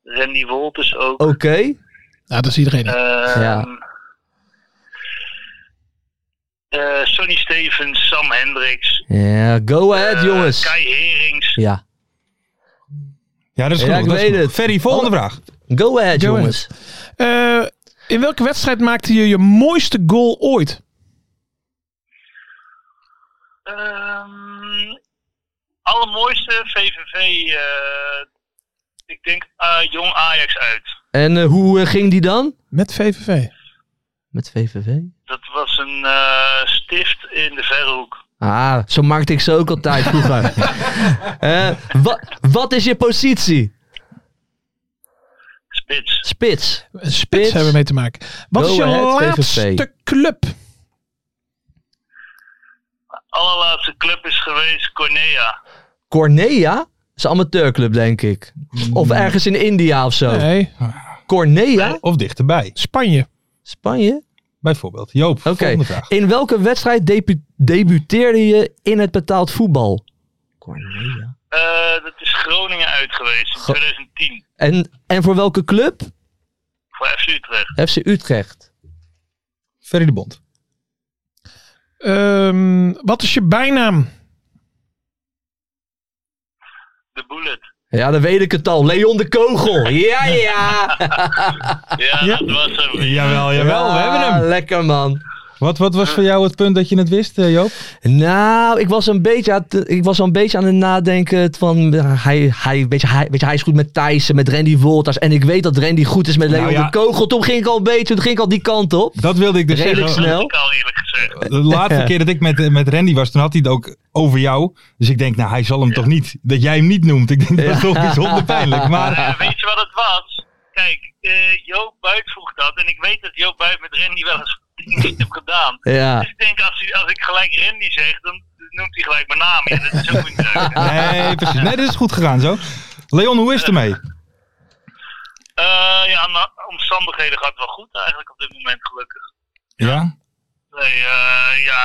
S6: Randy Wolters ook.
S3: Oké.
S4: Nou, dat is iedereen.
S6: Ehm,
S3: Ja.
S6: eh, Sonny Stevens, Sam Hendricks.
S3: Ja, go ahead
S6: eh,
S3: jongens.
S6: Kai Herings.
S3: Ja,
S2: Ja, dat is
S3: Ja,
S2: goed.
S3: ik
S2: dat is
S3: weet
S2: goed.
S3: het. Oh.
S2: Ferry, volgende vraag.
S3: go ahead
S4: Go
S3: jongens.
S4: Eh, in welke wedstrijd maakte je je mooiste goal ooit?
S6: Ehm allermooiste VVV, eh, ik denk eh, jong Ajax uit.
S3: En eh, hoe eh, ging die dan?
S4: Met VVV.
S3: Met VVV?
S6: Dat was een eh, stift in de verhoek.
S3: Ah, zo maakte ik ze ook altijd vroeger. Eh, wa- wat is je positie?
S6: Spits.
S3: Spits.
S4: Een spits hebben we mee te maken. Wat
S3: Go
S4: is je
S3: ahead,
S4: laatste
S3: VVV.
S4: club?
S6: Allerlaatste club is geweest Cornea.
S3: Cornea? Is een amateurclub denk ik. Of ergens in India of zo.
S4: Nee,
S3: Cornea?
S2: Of dichterbij.
S4: Spanje.
S3: Spanje?
S2: Bijvoorbeeld. Joop,
S3: Oké.
S2: volgende vraag.
S3: In welke wedstrijd debu- debuteerde je in het betaald voetbal? Cornelia.
S6: Eh, dat is Groningen uit geweest in
S3: Go-
S6: 2010
S3: En, en voor welke club?
S6: voor FC Utrecht.
S3: FC Utrecht.
S2: Ferry de Bond.
S4: Ehm, wat is je bijnaam?
S6: De Bullet.
S3: Ja, dan weet ik het al. Leon de Kogel. Ja, ja.
S6: Ja, dat was hem.
S2: Jawel,
S3: Ah, Lekker man.
S2: Wat, wat was voor jou het punt dat je het wist, eh, Joop?
S3: Nou, ik was een beetje, aan het- ik was al een beetje aan het nadenken van eh, hij, hij, weet je, hij, weet je, hij is goed met Thijssen, met Randy Wolters. En ik weet dat Randy goed is met Leon
S2: Nou ja.
S3: de Kogel. Toen ging ik al een beetje, toen ging ik al die kant op.
S2: Dat wilde ik dus
S3: Redelijk
S2: zeggen.
S6: Dat
S3: snel.
S6: had ik al eerlijk gezegd.
S2: De laatste keer dat ik met, eh, met Randy was, toen had hij het ook over jou. Dus ik denk, nou, hij zal hem toch niet, dat jij hem niet noemt. Ik denk, dat is toch bijzonder pijnlijk. Maar
S6: Eh, weet je wat het was? Kijk, eh, Joop Buit vroeg dat. En ik weet dat Joop Buit met Randy wel eens niet heeft gedaan.
S3: Ja.
S6: Dus ik denk, als, hij- als ik gelijk Randy zeg, dan noemt hij gelijk mijn naam. Ja, dat is ook niet leuk.
S2: nee, precies. Nee, dat is goed gegaan zo. Leon, hoe is het ermee?
S6: Eh, ja, na- omstandigheden gaat wel goed eigenlijk op dit moment, gelukkig.
S2: Ja?
S6: Nee, eh, ja,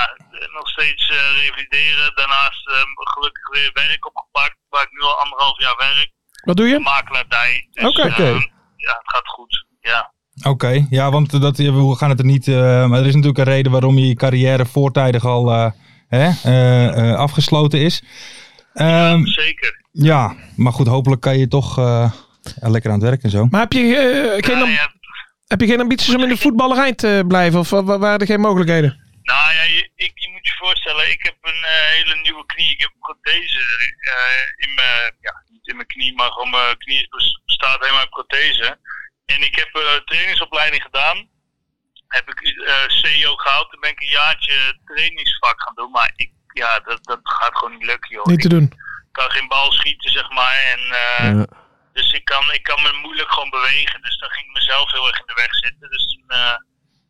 S6: nog steeds eh, revalideren. Daarnaast eh, gelukkig weer werk opgepakt, waar ik nu al anderhalf jaar werk.
S4: Wat doe je?
S6: Makelaardij. Dus,
S4: Oké, oké.
S6: eh, ja, het gaat goed. Ja.
S2: Oké, ja, want eh, dat, we gaan het er niet... eh, maar er is natuurlijk een reden waarom je carrière voortijdig al eh, hè, eh, eh, afgesloten is. Ehm,
S6: Zeker.
S2: ja, maar goed, hopelijk kan je toch eh, ja, lekker aan het werk en zo.
S4: Maar heb je, eh, geen,
S6: Nou
S4: am-
S6: ja,
S4: heb je geen ambities om in de voetballerij te blijven? Of wa- wa- waren er geen mogelijkheden?
S6: Nou ja, je, ik, je moet je voorstellen, ik heb een eh, hele nieuwe knie. Ik heb gewoon deze eh, in mijn, ja, niet in mijn knie, maar gewoon mijn knie is bes- bestaat helemaal uit prothese. En ik heb eh trainingsopleiding gedaan. Heb ik eh CEO gehaald, toen ben ik een jaartje trainingsvak gaan doen. Maar ik, ja, dat, dat gaat gewoon niet lukken, joh.
S4: Niet te doen.
S6: Ik kan geen bal schieten, zeg maar. En, eh,
S3: Ja.
S6: Dus ik kan, ik kan me moeilijk gewoon bewegen. Dus dan ging ik mezelf heel erg in de weg zitten. Dus toen eh,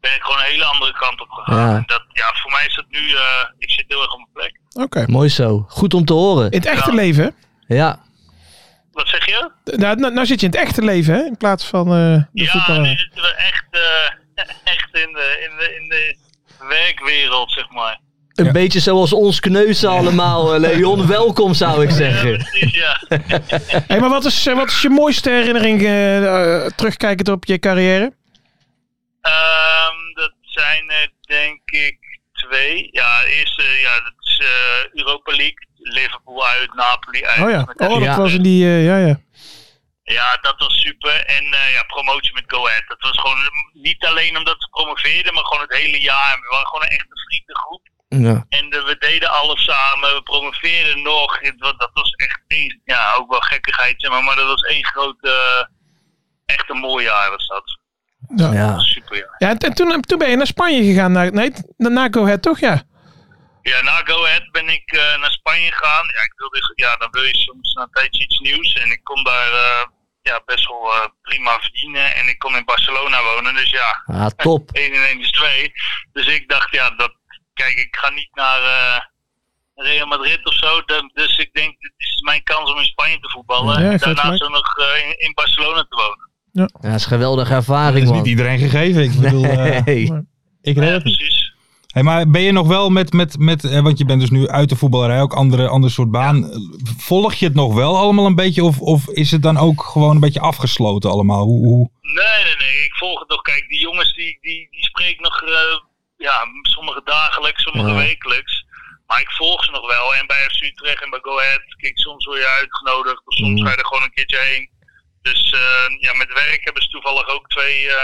S6: ben ik gewoon een hele andere kant op gegaan.
S3: Ja.
S6: En dat, ja, voor mij is dat nu... eh, ik zit heel erg op mijn plek.
S4: Oké.
S3: Mooi zo. Goed om te horen.
S4: In het echte leven, hè?
S3: Ja.
S6: Wat zeg je?
S4: Nou, nou, nou zit je in het echte leven, hè? In plaats van eh de
S6: Ja,
S4: voetballer.
S6: nu zitten we echt, eh, echt in, de, in, de, in de werkwereld, zeg maar.
S3: Een beetje zoals ons kneuzen allemaal, eh, Leon. Welkom zou ik zeggen.
S6: Precies, ja.
S4: Hey, maar wat is, eh, wat is je mooiste herinnering eh, eh, terugkijkend op je carrière?
S6: Ehm, dat zijn er denk ik twee. Ja, de eerste, ja, dat is eh, Europa League. Liverpool uit, Napoli uit.
S4: Oh ja,
S6: Met-
S4: oh, dat
S3: Ja.
S4: was in die... eh, ja, ja.
S6: Ja, dat was super. En eh, ja, promotie met Go Ahead. Dat was gewoon mm, niet alleen omdat we promoveerden, maar gewoon het hele jaar. We waren gewoon een echte vriendengroep.
S3: Ja.
S6: En eh, we deden alles samen. We promoveerden nog. Het wa- Dat was echt één, ja, ook wel gekkigheid, zeg maar. Maar dat was één groot, eh, echt een mooi jaar was dat.
S4: Ja. ja.
S3: Ja.
S6: Super, ja.
S4: en en toen, toen ben je naar Spanje gegaan. Naar, nee, naar naar Go Ahead, toch? Ja.
S6: Ja, na Go Ahead ben ik eh, naar Spanje gegaan. Ja, ik wilde, ja, dan wil je soms na een tijdje iets nieuws. En ik kon daar eh, ja, best wel eh, prima verdienen. En ik kon in Barcelona wonen, dus ja...
S3: Ah, top.
S6: 1 en 1 is 2. Dus ik dacht, ja, dat, kijk, ik ga niet naar eh, Real Madrid of zo. Dan- dus ik denk, dit is mijn kans om in Spanje te voetballen.
S4: Ja,
S6: en
S4: ik weet het
S6: daarnaast ook nog eh, in, in Barcelona te wonen.
S3: Ja, dat is een geweldige
S2: Dat is
S3: ervaring,
S2: niet
S3: man.
S2: iedereen gegeven. Ik bedoel, eh,
S3: Hey.
S2: ik red
S6: Ja,
S2: het niet.
S6: precies.
S2: Hey, maar ben je nog wel met, met, met eh, want je bent dus nu uit de voetballerij, ook andere, ander soort baan. Volg je het nog wel allemaal een beetje of, of is het dan ook gewoon een beetje afgesloten allemaal? Hoe, hoe?
S6: Nee, nee, nee. Ik volg het nog. Kijk, die jongens die, die, die spreek nog, eh, ja, sommige dagelijks, sommige
S3: Ja.
S6: wekelijks. Maar ik volg ze nog wel. En bij FC Utrecht en bij Go Ahead, kijk, soms word je uitgenodigd. Of soms
S3: Mm.
S6: ga je er gewoon een keertje heen. Dus eh, ja, met werk hebben ze toevallig ook twee, eh,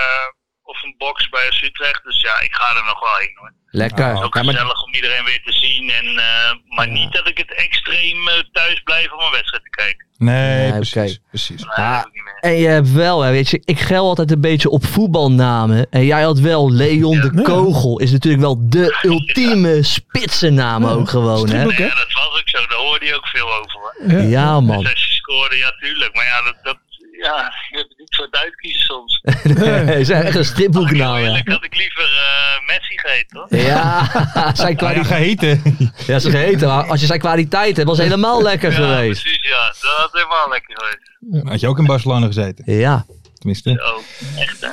S6: of een box bij FC Utrecht. Dus ja, ik ga er nog wel heen hoor.
S3: Lekker.
S2: Ah,
S6: Ook
S3: Ja, maar,
S6: gezellig om iedereen weer te zien. En, eh, maar niet dat ik het extreem eh, thuis blijf om een wedstrijd te kijken.
S2: Nee,
S3: Nee,
S2: precies.
S3: oké.
S2: precies.
S6: Nee,
S3: Ja.
S6: dat doe ik niet meer.
S3: en je hebt wel, hè, weet je, ik gel altijd een beetje op voetbalnamen. En jij had wel, Leon de Kogel is natuurlijk wel de ultieme spitsennaam ook gewoon, hè?
S4: Oké.
S6: Ja, dat was ook zo. Daar hoorde je ook veel over hoor.
S3: Ja, man.
S6: Dus als je scoorde, ja, tuurlijk. Maar ja, dat, dat, ja je hebt het niet voor het uitkiezen soms.
S3: Het is echt een stripboeknaam, ja.
S6: Eerlijk had ik liever eh, Messi gegeten, hoor.
S3: Ja, zijn
S2: Ah, ja,
S3: kwaliteit.
S2: geheten.
S3: Ja, ze geheten. maar Als je zijn kwaliteit hebt, was het helemaal lekker
S6: Ja,
S3: geweest.
S6: precies, ja. Dat had helemaal lekker geweest.
S2: Had je ook in Barcelona gezeten?
S3: Ja.
S2: Tenminste.
S6: Oh, echt, hè?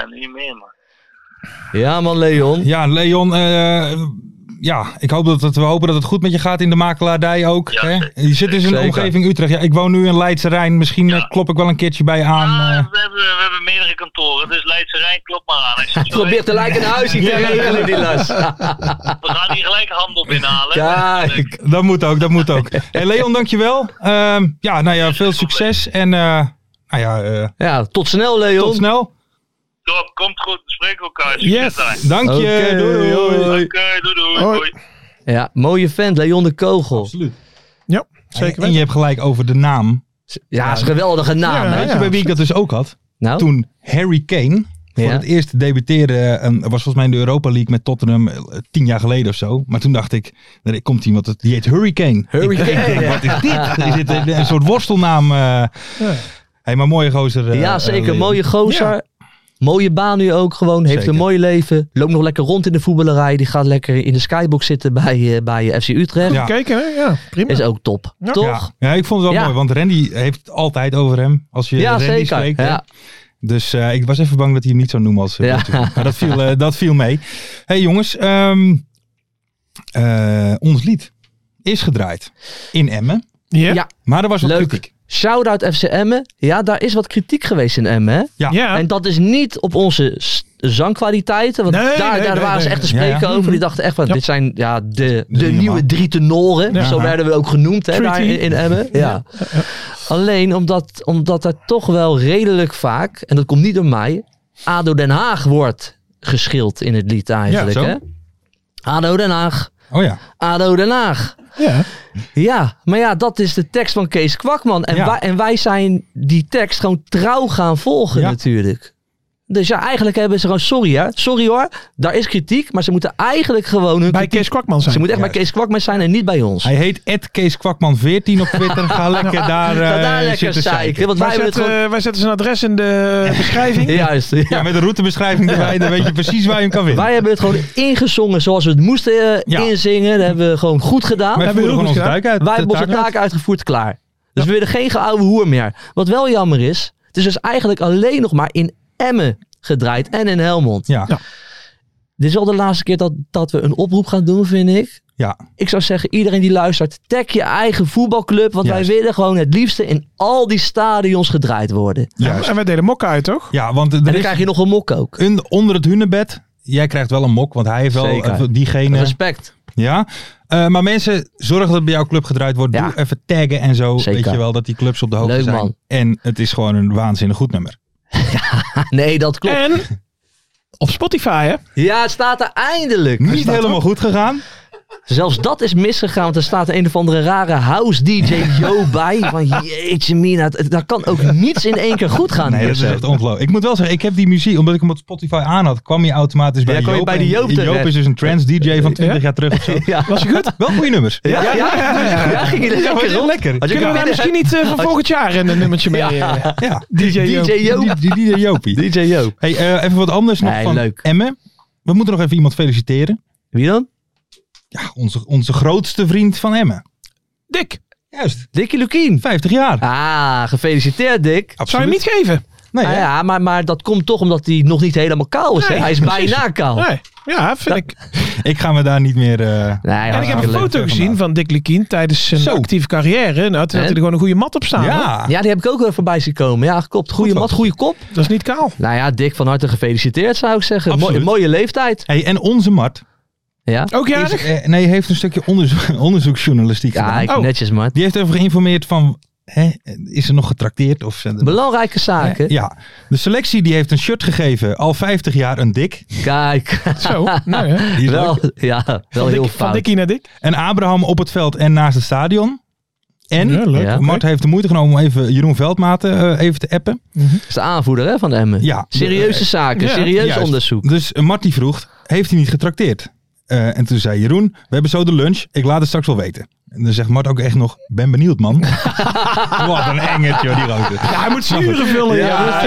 S6: Ja, niet meer, man.
S3: ja, man, Leon.
S2: Ja, Leon, eh, ja, ik hoop dat het, we hopen dat het goed met je gaat in de makelaardij ook.
S6: Ja,
S2: hè?
S6: zeker.
S2: Je zit dus in zijn
S3: Zeker.
S2: omgeving Utrecht. Ja, ik woon nu in Leidse Rijn. Misschien
S6: Ja.
S2: eh, klop ik wel een keertje bij je aan. eh.
S6: Ah, we, hebben, we hebben meerdere kantoren, dus Leidse Rijn klopt maar aan. Als je het zo
S3: Probeer
S6: weet,
S3: tegelijk een huisje te regelen, die les.
S6: we gaan hier gelijk handel binnenhalen.
S3: Kijk.
S2: Dat moet ook, dat moet ook. Hey Leon, dankjewel. Ehm ja, nou ja, veel succes. En eh, nou ja, eh,
S3: Ja, tot snel,
S2: tot
S3: Leon.
S2: snel.
S6: Top, komt goed, we spreken elkaar.
S4: Yes.
S6: Succes daar.
S2: Dank je.
S3: Oké,
S2: Doei, doei.
S3: hoi.
S6: Oké, doei, doei.
S4: Hoi.
S6: doei.
S3: Ja, mooie vent, Leon de Kogel.
S4: Ja, zeker
S2: En je
S4: weten.
S2: hebt gelijk over de naam.
S3: Ja, is een geweldige naam,
S4: Ja,
S3: hè?
S2: Weet je bij wie ik dat dus ook had?
S3: Nou,
S2: Toen Harry Kane voor
S3: Ja.
S2: het eerst debuteerde, eh, en was volgens mij in de Europa League met Tottenham eh, tien jaar geleden of zo. Maar toen dacht ik, er komt iemand, dat- die heet Hurricane.
S3: Hurricane,
S2: Ik denk,
S3: ja.
S2: wat is dit? Is dit een, een soort worstelnaam? eh? hey, maar mooie gozer. eh,
S3: ja,
S2: eh,
S3: zeker.
S2: Leon.
S3: mooie gozer.
S4: Ja.
S3: Mooie baan nu ook gewoon. Heeft
S2: Zeker.
S3: een mooi leven. Loopt nog lekker rond in de voetballerij. Die gaat lekker in de skybox zitten bij, eh, bij FC Utrecht.
S2: Ja.
S4: Kijken, hè? Ja, prima.
S3: Is ook top.
S4: Ja.
S3: Toch?
S2: Ja. ja, ik vond het wel
S3: Ja.
S2: mooi, want Randy heeft het altijd over hem. Als je
S3: Ja,
S2: Randy
S3: zeker.
S2: spreekt. hè.
S3: ja.
S2: Dus eh, ik was even bang dat hij hem niet zou noemen als eh,
S3: Ja.
S2: natuurlijk. Maar dat viel, eh, dat viel mee. hey, jongens, ehm, eh, ons lied is gedraaid in Emmen.
S4: Ja.
S3: Ja.
S2: Maar er was wat
S3: Leuk.
S2: kritiek.
S3: Shout-out FC Emmen. Ja, daar is wat kritiek geweest in Emmen. hè?
S2: Ja.
S4: Ja.
S3: En dat is niet op onze s- zangkwaliteiten. Want
S4: Nee,
S3: daar,
S4: nee,
S3: daar
S4: nee,
S3: waren ze
S4: nee. Mhm.
S3: echt te spreken
S2: Ja, ja.
S3: over. Die dachten echt van,
S4: Ja.
S3: dit zijn ja, de,
S2: niet
S3: de nieuwe
S2: normaal.
S3: drie tenoren.
S2: Ja.
S3: Zo werden we ook genoemd hè, daar
S4: Treaty.
S3: in, in Emmen. Ja. Alleen omdat, omdat er toch wel redelijk vaak, en dat komt niet door mij, ADO Den Haag wordt geschild in het lied eigenlijk.
S2: zo.
S3: hè? ADO Den Haag,
S2: Oh ja.
S3: ADO Den Haag.
S4: ja.
S3: Ja, maar ja, dat is de tekst van Kees Kwakman. En,
S2: Ja.
S3: wij, en wij zijn die tekst gewoon trouw gaan volgen
S2: Ja.
S3: natuurlijk. Dus ja, eigenlijk hebben ze gewoon sorry hè. Sorry hoor, daar is kritiek. Maar ze moeten eigenlijk gewoon hun
S4: Bij
S3: kritiek-
S4: Kees Kwakman zijn.
S3: Ze moeten echt bij Kees Kwakman zijn en niet bij ons.
S2: Hij heet Ed Kees Kwakman 14 op Twitter. Ga lekker daar,
S3: Ga
S2: eh,
S3: daar lekker
S2: zitten
S3: zeiken.
S2: zeiken.
S3: Want wij
S4: wij,
S3: hebben het
S4: zetten,
S3: gewoon...
S4: eh, wij zetten zijn adres in de beschrijving.
S3: Juist, ja.
S2: Ja, met een routebeschrijving erbij, dan weet je precies waar je hem kan vinden.
S3: Wij hebben het gewoon ingezongen zoals we het moesten eh,
S2: Ja.
S3: inzingen. Dat hebben we gewoon goed gedaan.
S2: Wij
S4: hebben
S2: voeren
S4: heel
S2: gewoon
S4: goed
S2: onze duik
S4: gedaan.
S2: uit.
S3: Wij
S2: de
S3: hebben onze
S2: taak uit.
S3: taak uitgevoerd, klaar. Dus we willen geen geoude hoer meer. Wat wel jammer is, het is dus eigenlijk alleen nog maar in Emmen gedraaid en in Helmond.
S2: Ja,
S4: Ja.
S3: Dit is wel de laatste keer dat, dat we een oproep gaan doen, vind ik.
S2: ja.
S3: Ik zou zeggen, iedereen die luistert, tag je eigen voetbalclub. Want
S2: Juist.
S3: wij willen gewoon het liefste in al die stadions gedraaid worden.
S2: juist.
S4: En wij deden mokken uit, toch?
S2: ja want er
S3: En dan
S2: is
S3: krijg je nog een mok ook.
S2: een, onder het hunebed. Jij krijgt wel een mok, want hij heeft wel
S3: Zeker.
S2: eh, diegene.
S3: Respect.
S2: Ja, Eh, maar mensen, zorg dat het bij jouw club gedraaid wordt.
S3: Ja.
S2: Doe even taggen en zo.
S3: Zeker.
S2: Weet je wel dat die clubs op de hoogte
S3: Leuk,
S2: zijn.
S3: man.
S2: En het is gewoon een waanzinnig goed nummer.
S3: Ah, Nee, dat klopt.
S4: En op Spotify, hè?
S3: Ja, het staat er eindelijk.
S2: Eh. Niet helemaal goed gegaan.
S3: Zelfs dat is misgegaan, want er staat een of andere rare house DJ Joe bij. Van jeetje mina, het- daar kan ook niets in één keer goed gaan.
S2: Nee, dat is echt ongelooflijk. Ik moet wel zeggen, ik heb die muziek, omdat ik hem op Spotify aan had, kwam je automatisch bij
S3: Ja, kwam
S2: Joop.
S3: je bij die
S2: En
S3: Joop
S2: Joop
S3: terecht.
S2: is dus een trance DJ van 20 jaar terug of zo.
S3: Ja.
S2: Was je goed? Wel goede nummers.
S3: Ja, ja, ja, ja, ging je lekker
S2: heel
S3: hoor.
S2: lekker.
S3: Had je
S4: Kunnen we daar
S3: kunnen
S4: misschien niet eh, van volgend jaar een een nummertje mee?
S3: Ja.
S4: eh,
S2: Ja.
S4: DJ Joop.
S3: DJ
S2: Die,
S3: Joop.
S2: die, die Joopie.
S3: DJ Joop.
S2: Hey, eh, even wat anders nog
S3: Nee,
S2: van
S3: leuk.
S2: Emmen. We moeten nog even iemand feliciteren.
S3: Wie dan?
S2: Ja, onze, onze grootste vriend van Emmen.
S4: Dick,
S2: Juist.
S3: Dickie Lukien.
S2: 50 jaar.
S3: Ah, gefeliciteerd Dick.
S4: zou je hem
S2: Absoluut.
S4: niet geven?
S2: Nee,
S3: Ah
S2: hè?
S3: ja, maar, maar dat komt toch omdat hij nog niet helemaal kaal is. hè?
S4: Nee,
S3: hij is bijna kaal.
S4: Nee. Ja, vind ik.
S2: Ik ga me daar niet meer... eh,
S3: Nee,
S4: En ik
S3: hartstikke
S4: heb een
S3: leuk.
S4: foto gezien van Dick Lukien tijdens zijn
S2: Zo.
S4: actieve carrière. Nou, toen had hij
S3: Hè?
S4: er gewoon een goede mat op staan. hoor.
S2: ja.
S3: Ja, die heb ik ook weer voorbij zien komen. Ja, klopt. Goeie
S2: Goed,
S3: mat, goede kop.
S4: Dat is niet kaal.
S3: Nou ja, Dick, van harte gefeliciteerd zou ik zeggen. Mooi-
S2: Absoluut.
S3: mooie leeftijd.
S2: Hey, en onze Mart.
S3: Ja,
S4: Ook
S2: Is,
S4: jarig?
S2: eh, nee, heeft een stukje onderzo- onderzoeksjournalistiek
S3: ja
S2: gedaan.
S3: ik,
S4: Oh.
S3: netjes man.
S2: Die heeft even geïnformeerd van... Hè, is er nog getrakteerd? Of zijn er-
S3: Belangrijke zaken.
S2: Ja. De selectie die heeft een shirt gegeven. Al 50 jaar een dik.
S3: Kijk,
S4: Zo. Nou, hè.
S2: Die is
S3: wel,
S2: leuk.
S3: ja, wel
S4: Van
S3: heel
S4: Dickie- Van
S3: fout.
S4: Dickie naar Dick.
S2: En Abraham op het veld en naast het stadion. En
S4: Ja, leuk.
S3: Ja.
S2: Mart heeft de moeite genomen om even Jeroen Veldmaten eh, even te appen.
S3: Dat is de aanvoerder hè, van Emmen.
S2: Ja.
S3: Serieuze zaken,
S4: Ja,
S3: serieus
S2: Juist.
S3: onderzoek.
S2: Dus eh, Mart die vroeg, heeft hij niet getrakteerd? Eh, en toen zei Jeroen, we hebben zo de lunch. Ik laat het straks wel weten. En dan zegt Mart ook echt nog, ben benieuwd man. Wat een engetje joh, die roker.
S4: Ja, hij moet zuren vullen. Ja,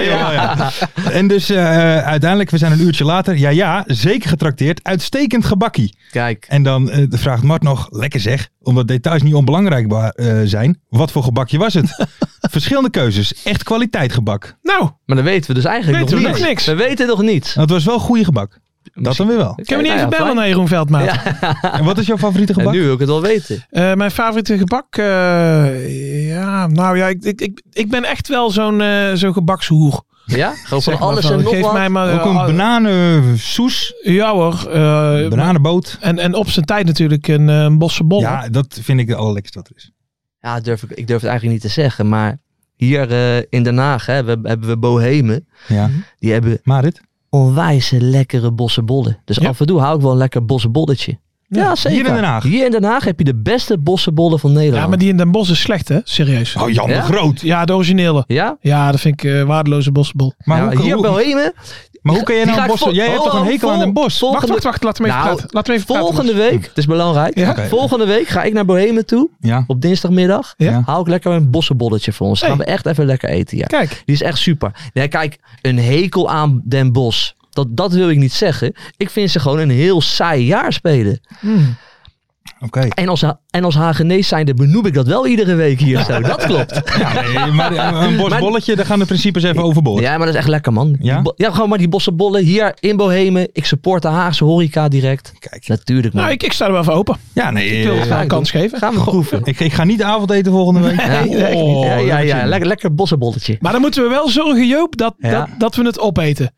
S2: Ja, ja, ja. En dus eh, uiteindelijk, we zijn een uurtje later. Ja, ja, zeker getrakteerd. Uitstekend gebakkie.
S3: Kijk,
S2: En dan eh, vraagt Mart nog, lekker zeg, omdat details niet onbelangrijk ba- eh, zijn. Wat voor gebakje was het? Verschillende keuzes. Echt kwaliteit gebak.
S4: Nou,
S3: maar dan weten we dus eigenlijk
S4: Weten
S3: nog
S4: we nog
S3: niks.
S4: niks.
S3: We weten nog niets.
S2: Dat was wel goede gebak. Dat dan weer wel.
S4: kunnen we niet
S3: Ja,
S4: even
S3: ja,
S4: bellen
S3: fijn.
S4: naar Jeroen Veldmaat?
S3: Ja.
S2: En wat is jouw favoriete
S3: En
S2: gebak?
S3: nu wil ik het wel weten.
S4: Eh, mijn favoriete gebak? eh, ja, nou ja, ik, ik, ik, ik ben echt wel zo'n eh, zo'n gebakshoer.
S3: Ja? Gewoon
S4: Zeg
S3: van
S4: maar
S3: alles
S4: van,
S3: en nog
S4: geef
S3: wat.
S4: mij maar,
S2: Ook een
S4: eh,
S2: bananensoes,
S4: Ja hoor. eh,
S2: bananenboot.
S4: en, en op zijn tijd natuurlijk een, eh, een bosse
S3: Oh.
S4: bol.
S2: Ja, dat vind ik de allerlekkerste wat er is.
S3: Ja, durf ik, ik durf het eigenlijk niet te zeggen, maar... Hier eh, in Den Haag hè, we, hebben we Bohemen.
S2: Ja.
S3: Die hebben
S2: Marit?
S3: onwijze lekkere bossenbollen. Dus af en toe hou ik wel een lekker bossenbolletje. Ja, zeker.
S2: Hier in Den Haag?
S3: Hier in Den Haag heb je de beste bossenbollen van Nederland.
S4: Ja, maar die in Den Bosch is slecht hè? Serieus.
S2: Oh, Jan
S3: Ja?
S2: de Groot.
S4: Ja, de originele.
S3: Ja?
S4: Ja, dat vind ik eh, waardeloze bossenbol.
S2: Maar,
S3: Ja,
S2: hoe,
S3: hier
S2: hoe-
S3: Bohemen.
S2: maar hoe kan jij
S3: die
S2: nou
S3: ga ik
S2: bossen?
S3: vol-
S2: Jij hebt
S3: oh,
S2: toch een
S3: oh,
S2: hekel aan
S3: vol-
S2: Den Bos?
S3: Volgende,
S4: Wacht, wacht, wacht. Laat me even
S3: Nou,
S4: praten. Laat me even praten.
S3: volgende week, het is belangrijk.
S4: Ja?
S2: Oké.
S3: Volgende week ga ik naar Bohemen toe.
S2: Ja.
S3: Op dinsdagmiddag.
S2: Ja.
S3: Haal ik lekker een bossenbolletje voor ons.
S4: Hey.
S3: Gaan we echt even lekker eten. Ja.
S4: Kijk.
S3: Die is echt super. Nee, kijk, een hekel aan Den Bos. Dat, dat wil ik niet zeggen. Ik vind ze gewoon een heel saai jaar spelen.
S2: Oké.
S3: En als, Ha- en als Hagenees zijnde benoem ik dat wel iedere week hier zo. Dat klopt.
S2: Ja, nee, maar eh, een bosbolletje, daar gaan de principes even overboord.
S3: Ja, maar dat is echt lekker, man.
S2: Ja?
S3: Die bo- ja, gewoon maar die bossenbollen hier in Bohemen. Ik support de Haagse horeca direct.
S2: Kijk.
S3: Natuurlijk, man.
S4: Nou, ik, ik sta er wel voor open.
S2: Ja, nee.
S4: Ik wil het
S2: eh,
S3: ga
S4: wel een
S3: ik
S4: kans geven.
S3: Gaan we proeven.
S2: Ik, ik ga niet avondeten volgende week.
S3: Ja,
S2: Oh,
S3: ja, ja,
S2: daar heb ik
S3: ja.
S2: zin in.
S3: Lekker, lekker bossenbolletje.
S4: Maar dan moeten we wel zorgen, Joop, dat,
S3: Ja.
S4: dat, dat we het opeten.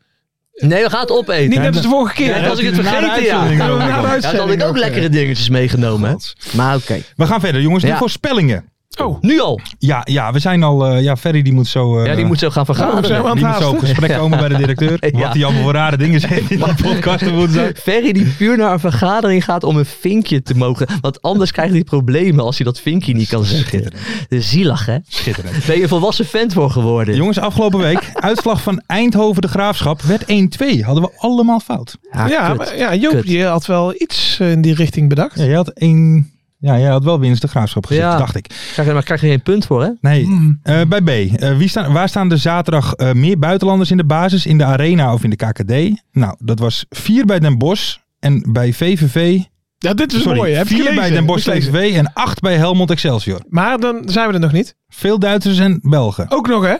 S3: Nee, we gaan het opeten.
S4: Niet net als de vorige keer.
S3: Ja,
S4: hè?
S3: dat was ik het
S2: Na de
S3: vergeten, ja.
S2: uitzending
S4: Ja,
S2: ook.
S4: na de
S3: Ja, dan had
S4: uitzending
S3: ik ook
S4: eh.
S3: lekkere dingetjes meegenomen. hè. Maar oké.
S2: We gaan verder, jongens. De
S3: Ja.
S2: voorspellingen.
S4: Oh,
S3: Nu al.
S2: Ja, ja we zijn al... eh, ja, Ferry die moet zo... eh,
S3: Ja, die moet zo gaan
S4: Oh, zijn we
S3: vergaderen.
S4: aan
S2: die moet
S4: het
S2: zo op
S4: haasten.
S2: gesprek komen bij de directeur.
S3: Ja.
S2: Wat hij allemaal voor rare dingen zegt in die podcast op woensdag.
S3: Ferry die puur naar een vergadering gaat om een vinkje te mogen. Want anders krijgt hij problemen als hij dat vinkje niet kan zeggen. Zielig hè?
S2: Schitterend.
S3: Ben je een volwassen vent voor geworden?
S2: Jongens, afgelopen week, uitslag van Eindhoven de Graafschap, werd 1-2. Hadden we allemaal fout.
S3: ja,
S4: ja,
S3: Ah, kut.
S4: maar, ja Joop
S3: Kut.
S4: die had wel iets eh, in die richting bedacht.
S2: Ja, jij had één... Ja, jij had wel winst de Graafschap gezet,
S3: Ja. Hmm.
S2: dacht ik.
S3: Krijg je, maar krijg je geen punt voor hè?
S2: Nee, eh, bij B. Eh, wie staan, waar staan er zaterdag eh, meer buitenlanders in de basis, in de arena of in de KKD? Nou, dat was vier bij Den Bosch en bij VVV...
S4: Ja, dit is
S2: sorry,
S4: mooi. Heb je
S2: vier
S4: gelezen?
S2: bij Den Bosch
S4: Heb je gelezen?
S2: VVV en acht bij Helmond Excelsior.
S4: Maar dan zijn we er nog niet.
S2: Veel Duitsers en Belgen.
S4: Ook nog, hè?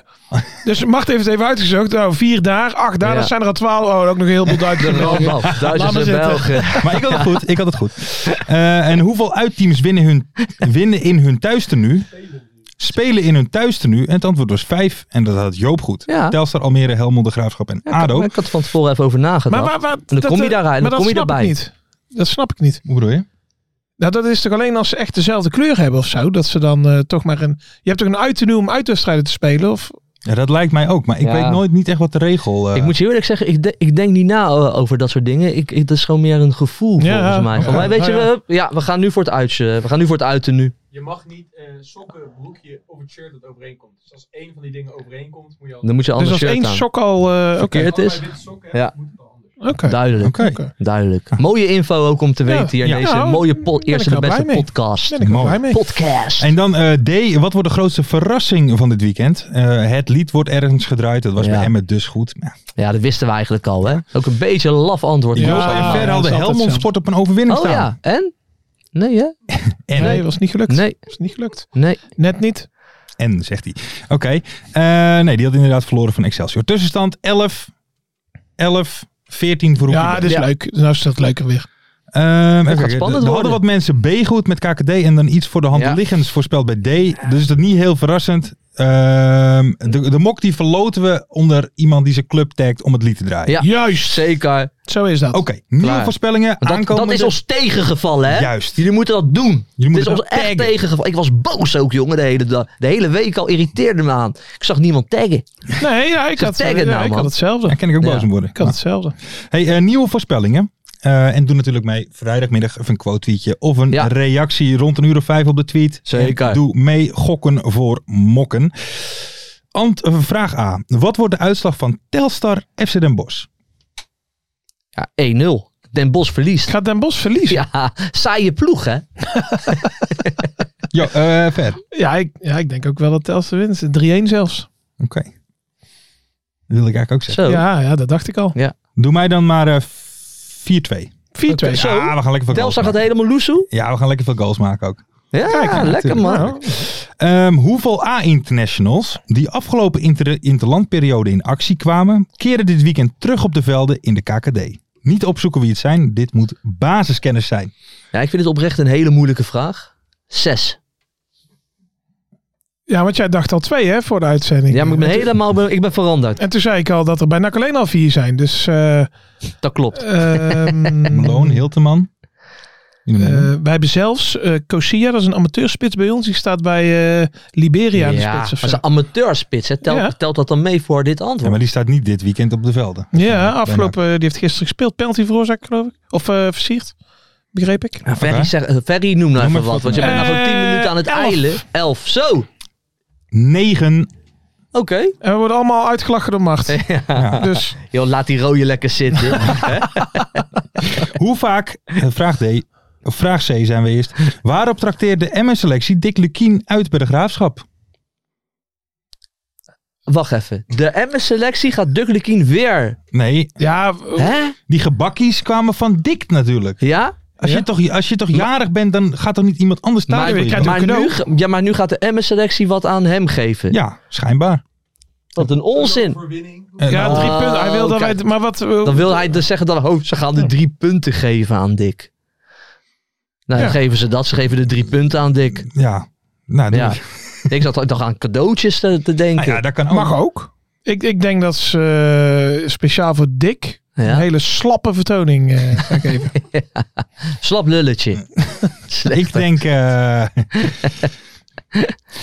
S4: Dus Mart heeft het even uitgezocht. Nou, vier daar, acht daar,
S3: Ja.
S4: dat zijn er al twaalf. Oh, ook nog heel veel Duitsers.
S3: Allemaal.
S4: Laat maar
S3: Duitsers en
S4: zitten.
S3: Belgen.
S2: Maar ik had het goed. Ik had het goed. Eh, en hoeveel uitteams winnen, hun, winnen in hun thuistenu? Spelen in hun thuistenu. En het antwoord was vijf. En dat had Joop goed.
S3: Ja.
S2: Telstar, Almere, Helmond, De Graafschap en
S3: Ja,
S2: ADO.
S3: maar Ik had van tevoren even over
S4: Maar
S3: nagedacht.
S4: waar, waar,
S3: dan
S4: dat,
S3: kom je
S4: eh,
S3: daar- dan
S4: maar dat
S3: kom je
S4: snap
S3: daarbij.
S4: ik niet. Dat snap ik niet.
S2: Hoe bedoel je?
S4: Nou, dat is toch alleen als ze echt dezelfde kleur hebben of zo? Dat ze dan eh, toch maar een... Je hebt toch een uit te doen om uitwedstrijden te spelen? Of, Dus
S2: Ja, dat lijkt mij ook. Maar ik
S3: Ja.
S2: weet nooit niet echt wat de regel... eh,
S3: Ik moet je eerlijk zeggen, ik, de- ik denk niet na eh, over dat soort dingen. Ik, ik, dat is gewoon meer een gevoel
S4: Ja,
S3: volgens mij. Van,
S4: ja,
S3: maar weet
S4: ja,
S3: je,
S4: ja.
S3: we, ja, we gaan nu voor het uitje. We gaan nu voor het uiten nu.
S7: Je mag niet eh, sokken, broekje of het shirt dat overeenkomt. Dus als één van die dingen overeenkomt, moet je al...
S3: Dan moet je een
S4: dus
S3: ander
S4: als
S3: shirt
S4: één
S3: aan.
S4: sok al... eh, Oké,
S3: Verkeerd is.
S7: Allebei witte sokken
S3: Ja.
S7: hebt, moet het wel anders.
S4: oké.
S3: Duidelijk.
S2: Oké.
S4: Oké.
S3: Duidelijk. Mooie info ook om te
S4: Ja,
S3: weten hier in
S4: ja.
S3: deze
S4: Nou,
S3: mooie
S4: ben
S3: po-
S4: ik
S3: eerste de
S4: wel
S3: beste
S4: blij mee.
S3: podcast.
S4: Ben ik wel
S2: Mooi.
S4: blij mee.
S3: Podcast.
S2: En dan eh, D. Wat wordt de grootste verrassing van dit weekend? Eh, het lied wordt ergens gedraaid. Dat was
S3: Ja.
S2: bij Emmet dus goed. Ja.
S4: Ah,
S3: Ja, dat wisten we eigenlijk al, hè? Ook een beetje een laf antwoord.
S4: Ja.
S3: volgens
S2: Joppe
S3: mij.
S2: en Ver
S4: dat
S2: hadden
S4: is altijd
S2: Helmond
S4: zo.
S2: Sport op een overwinning
S3: Oh
S2: staan.
S3: ja, en? Nee, hè?
S2: En,
S4: Nee, was niet gelukt.
S3: Nee.
S4: Was niet gelukt.
S3: Nee.
S4: Net niet.
S2: en zegt hij. Oké. Eh, nee, die had inderdaad verloren van Excelsior. Tussenstand 11. 11. 14 voor
S4: Ja,
S2: Hoekie.
S4: dit is leuk. Nou is dat leuker weer.
S2: Ehm, even kijken.
S3: spannend
S2: Er hadden
S3: worden.
S2: wat mensen B goed met KKD en dan iets voor de hand
S3: Ja.
S2: liggends voorspeld bij D. Dus is dat niet heel verrassend. Ehm, de, de mok die verloten we onder iemand die zijn club tagt om het lied te draaien.
S3: Ja.
S4: Juist.
S3: Zeker.
S4: Zo is dat.
S2: Oké, nieuwe
S3: Klaar.
S2: voorspellingen.
S3: Dat,
S2: aankomende.
S3: dat is ons tegengevallen, hè?
S2: Juist.
S3: Jullie moeten dat doen.
S2: Jullie
S3: Dit is
S2: moeten
S3: ons
S2: dat
S3: echt
S2: taggen.
S3: tegengevallen. Ik was boos ook, jongen, de hele, dag. de hele week al irriteerde me aan. Ik zag niemand taggen.
S4: Nee, ja, ik,
S3: Ze
S4: had, eh,
S3: taggen
S4: ja,
S3: nou,
S4: ik
S3: man.
S4: had hetzelfde.
S2: Daar kan ik ook
S3: Ja.
S2: boos om worden. Nou,
S4: Ik had hetzelfde.
S2: Hey, eh, nieuwe voorspellingen. Eh, en doe natuurlijk mee vrijdagmiddag even een quote tweetje of een
S3: Ja.
S2: reactie rond een uur of vijf op de tweet.
S3: Zeker.
S2: En doe mee gokken voor mokken. Ant, eh, vraag A. Wat wordt de uitslag van Telstar FC Den Bosch?
S3: Ja, 1-0. Den Bos verliest.
S4: Gaat Den Bos verliezen? Ja,
S3: Ja, saaie ploeg, hè?
S2: Ja, eh, ver. Oké.
S4: ik, ja ik denk ook wel dat Telstra wint. 3-1 zelfs.
S2: Dat wil ik eigenlijk ook zeggen.
S3: Zo.
S4: Ja, ja, dat dacht ik al. 4-2.
S2: Doe mij dan maar eh, 4-2.
S3: Oké, zo.
S2: Ja, we gaan lekker veel goals
S3: Telstar gaat
S2: maken.
S3: helemaal loesoe. nou,
S2: Ja, we gaan lekker veel goals maken ook.
S3: Ja, lekker
S2: natuurlijk.
S3: man.
S2: Ehm, hoeveel A-internationals die afgelopen inter interlandperiode in actie kwamen, keren dit weekend terug op de velden in de KKD? Niet opzoeken wie het zijn, dit moet basiskennis zijn.
S3: Ja, ik vind het oprecht een hele moeilijke vraag. Zes.
S4: Ja, want jij dacht al twee hè, voor de uitzending.
S3: Ja, maar ik ben helemaal be- ik ben veranderd.
S4: En toen zei ik al dat er bij NAC alleen al vier zijn. Dus eh
S3: Dat klopt.
S4: ehm,
S2: Malone, Hilteman.
S4: eh, wij hebben zelfs eh Kosia, dat is een amateurspits bij ons. Die staat bij eh, Liberia in de
S3: ja,
S4: spits of
S3: maar
S4: zo.
S3: ze amateurspits. Hè. Telt,
S4: Ja.
S3: telt dat dan mee voor dit antwoord?
S2: ja, maar die staat niet dit weekend op de velden.
S4: Ja, afgelopen, die heeft gisteren gespeeld. Penalty veroorzaakt, geloof ik. Of eh, versierd, begreep ik.
S3: Nou, Ferry,
S2: Oké.
S3: zeg, eh, Ferry, noem nou
S2: Noem
S3: even
S2: even
S3: wat.
S2: wat,
S3: Want je
S4: ja.
S3: bent nou zo'n 10
S4: Eh,
S3: minuten aan het
S4: elf.
S3: eilen. Elf. Zo. Oké.
S2: 9.
S4: En we worden allemaal uitgelachen door Mart.
S2: Ja.
S4: Dus
S3: Joh, laat die rode lekker zitten.
S2: Hoe vaak, eh, vraag D, of vraag C zijn we eerst. Waarop trakteert de Emmen-selectie Dick Lukien uit bij de graafschap?
S3: Wacht even. De Emmen-selectie gaat Dukkelijkien weer.
S2: Nee,
S4: ja,
S3: Hè?
S2: die gebakkies kwamen van Dick natuurlijk.
S3: Ja?
S2: Als,
S4: Ja?
S2: je, toch, als je toch jarig bent, dan gaat toch niet iemand anders thuis
S3: Maar,
S2: voor je
S4: krijgt
S2: zorgen?
S3: maar,
S4: een cadeau.
S3: nu, ga- ja, maar nu gaat de Emmen-selectie wat aan hem geven.
S2: Ja, schijnbaar.
S3: Wat een onzin.
S7: Overwinning.
S2: En
S4: ja
S2: al-
S4: drie punten. Hij wil dat wij...
S3: kijk.
S4: Maar wat... eh,
S3: Dan wil hij dus zeggen dat oh, ze gaan de drie punten geven aan Dick. Nou, dan
S4: Ja.
S3: geven ze dat. Ze geven de drie punten aan Dick.
S2: Ja. Nou, doe
S3: Ja.
S2: ik.
S3: ik zat toch aan cadeautjes te, te
S2: Nou ja,
S3: denken.
S2: dat kan ook.
S4: Mag ook. Ik, ik denk dat ze eh, speciaal voor Dick
S3: Ja.
S4: een hele slappe vertoning eh, gaan geven.
S3: Slap lulletje. Slecht.
S2: Ik denk... eh,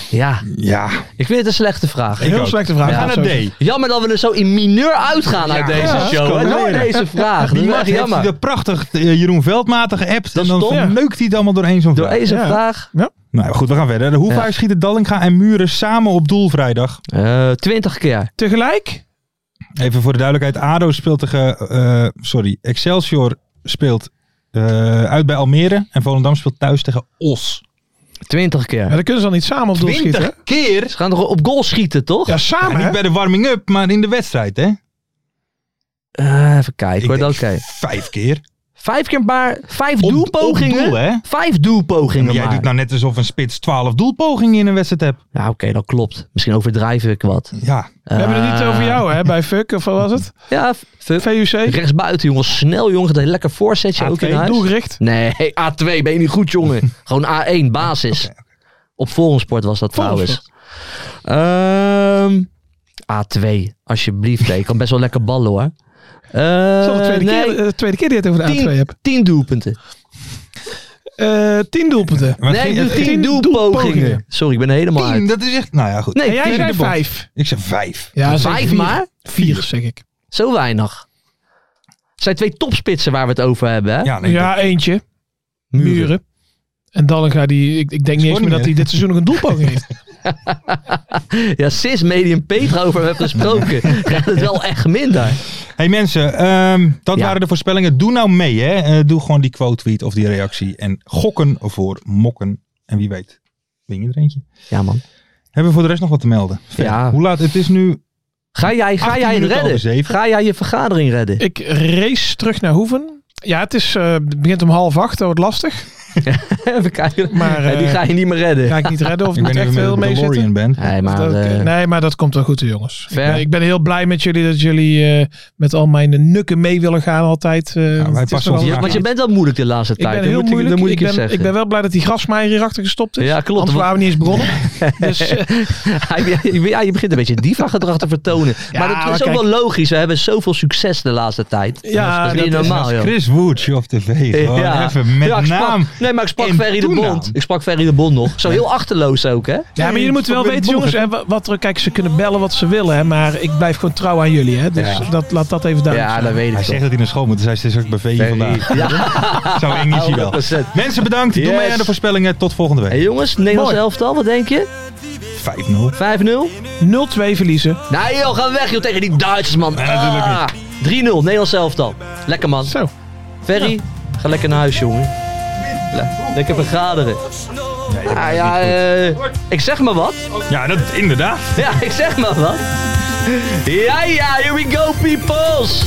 S3: Ja,
S2: Ja,
S3: ik vind het een slechte vraag.
S4: Heel
S2: ook.
S4: slechte vraag.
S3: We gaan
S4: Ja,
S2: naar
S4: zo-
S2: D.
S3: Jammer dat we er zo in mineur uitgaan uit
S2: Ja,
S3: deze
S2: ja,
S3: show.
S2: kom
S3: hè. Door
S2: leren.
S3: deze vraag.
S2: die
S3: Dat is
S2: man
S3: echt
S2: heeft
S3: jammer.
S2: de prachtig eh, Jeroen Veldmaten geappt.
S3: Dat
S2: En
S3: is
S2: dan
S3: top.
S2: neukt hij het allemaal doorheen zo'n
S3: Door
S2: vraag.
S3: deze
S4: Ja.
S3: vraag
S2: Nou goed, we gaan verder. Hoe vaak schieten Dallinga en Muren samen op doel vrijdag?
S3: eh 20 keer.
S4: Tegelijk?
S2: Even voor de duidelijkheid. ADO speelt tegen... eh, sorry, Excelsior speelt eh, uit bij Almere. En Volendam speelt thuis tegen Os.
S3: 20
S4: Ja,
S3: keer.
S4: dan kunnen ze dan niet samen op doel schieten. hè?
S3: keer? Ze gaan toch op goal schieten, toch?
S4: Ja,
S2: Ja,
S4: samen.
S2: niet
S4: hè?
S2: bij de warming-up, maar in de wedstrijd, hè?
S3: Eh, even kijken hoor.
S2: denk
S3: Oké.
S2: Vijf keer.
S3: Vijf keer maar. Vijf
S2: Op-
S3: doelpogingen.
S2: Op doel, hè?
S3: Vijf doelpogingen
S2: Jij
S3: maar.
S2: doet nou net alsof een spits 12 doelpogingen in een wedstrijd hebt.
S3: Ja, oké, dat klopt. Misschien overdrijven ik wat. Eh,
S2: Ja.
S4: We hebben het niet over jou, hè? Bij Fuck, of wat was het?
S3: Ja, fuck.
S4: VUC?
S3: Rechtsbuiten, jongens. Snel, jongens. Dat lekker voorzetje ook in
S4: Oké,
S3: huis.
S4: doelgericht.
S3: Nee, A2 ben je niet goed, jongen. Gewoon A1, basis. Op Volgensport was dat trouwens. Ehm, A2, alsjeblieft. hè. Je kan best wel lekker ballen, hoor. Eh,
S4: Het is al de tweede,
S3: nee,
S4: keer, eh, tweede keer die je het over de A2
S3: tien,
S4: hebt.
S3: tien doelpunten.
S4: Eh tien doelpunten.
S2: Maar het
S3: nee,
S2: ging-
S3: ik doe
S2: het
S3: tien,
S2: ging-
S3: doelpogingen. Sorry, ik ben er helemaal
S2: tien,
S3: uit.
S2: dat is echt... Nou ja, goed.
S3: Nee,
S4: En jij
S3: tien
S4: zei
S3: doelpunten.
S4: vijf.
S2: Ik zeg vijf.
S4: Ja, zeg
S3: Vijf
S4: vier.
S3: maar?
S4: Vier, zeg ik.
S3: Zo weinig. Het zijn twee topspitsen waar we het over hebben, hè?
S2: Ja, nee.
S4: Ja, eentje. Muren. En Dallinga, die, ik, ik denk niet eens
S2: Scoort
S4: meer dat
S2: niet
S4: hij dit seizoen nog een doelpoging heeft.
S3: Ja, sinds Medium Petra over hem hebt gesproken, gaat het wel echt minder.
S2: Hey mensen, ehm, dat
S3: Ja.
S2: waren de voorspellingen. Doe nou mee, hè. Eh, doe gewoon die quote tweet of die reactie. En gokken voor mokken. En wie weet, win je er eentje.
S3: Ja, man.
S2: Hebben we voor de rest nog wat te melden? Ver.
S3: Ja.
S2: Hoe laat? Het is nu...
S3: Ga jij, ga
S2: 18
S3: jij het
S2: minuten over
S3: redden?
S2: zeven.
S3: Ga jij je vergadering redden?
S4: Ik race terug naar Hoeven. Ja, het is, eh, het begint om half acht, dat wordt lastig.
S3: Even kijken.
S4: Maar,
S3: Ja, die
S4: eh,
S3: ga je niet meer redden.
S4: Ga ik niet redden of
S2: Ik
S4: niet
S2: ben
S4: echt
S2: even
S4: veel
S2: met de
S4: mee zitten.
S2: DeLorean band.
S3: nee, maar...
S4: Dat-
S3: eh,
S4: nee, maar dat komt wel goed, jongens. Ik
S3: Ver.
S4: ben, ik ben heel blij met jullie dat jullie eh, met al mijn nukken mee willen gaan altijd. eh, want
S2: wij
S4: het is
S2: passen
S4: wel-
S2: ons
S3: ja, want je bent wel moeilijk de laatste
S4: Ik
S3: tijd.
S4: ben
S3: dat
S4: heel
S3: moet
S4: moeilijk.
S3: Ik, dat moet ik,
S4: ik,
S3: je
S4: ben,
S3: zeggen.
S4: ik ben wel blij dat die grasmaaier hierachter gestopt is.
S3: Ja, klopt.
S4: Anders
S3: want-
S4: waren we niet eens begonnen. dus eh,
S3: ja, je begint een beetje diva-gedrag te vertonen. maar dat
S4: maar
S3: is ook
S4: kijk.
S3: wel logisch. We hebben zoveel succes de laatste tijd.
S4: Ja,
S3: dat is niet
S4: dat is- Oh,
S3: normaal, joh.
S2: Chris Woods op tv. Gewoon even met
S3: Ja, ik sprak-
S2: naam.
S3: Nee, maar ik sprak
S2: en
S3: Ferry de
S2: toenaam.
S3: Bond. Ik sprak Ferry de Bond nog. Zo heel achterloos ook, hè?
S4: ja, maar jullie moeten wel
S2: probeer
S4: weten,
S2: het
S4: jongens, hè, wa- wat er, kijk, ze kunnen bellen wat ze willen, hè, maar ik blijf gewoon trouw aan jullie. Hè, dus dat, laat dat even duidelijk
S3: Ja,
S4: zijn.
S3: dat weet
S2: Hij
S3: ik
S2: zegt
S3: toch.
S2: dat hij naar school moet, dus hij is straks bij VE vandaag. Zo eng is hij wel.
S3: 100%.
S2: Mensen bedankt, doe
S3: Yes.
S2: mee aan de voorspellingen. Tot volgende
S3: Hey,
S2: week.
S3: jongens, Nederlands
S4: Mooi.
S3: elftal, wat denk je?
S2: 5-0.
S3: 5-0?
S4: 0-2 verliezen.
S3: Nee joh, ga weg joh, tegen die Duitsers man. Ah, 3-0, Nederlands elftal. Lekker man.
S4: Zo.
S3: Ferry, ga lekker naar huis jongen. Le- Lekker vergaderen. Ah, ja, eh, ik zeg maar wat.
S2: Ja, dat inderdaad.
S3: Ja, ik zeg maar wat. Ja, ja, here we go peoples.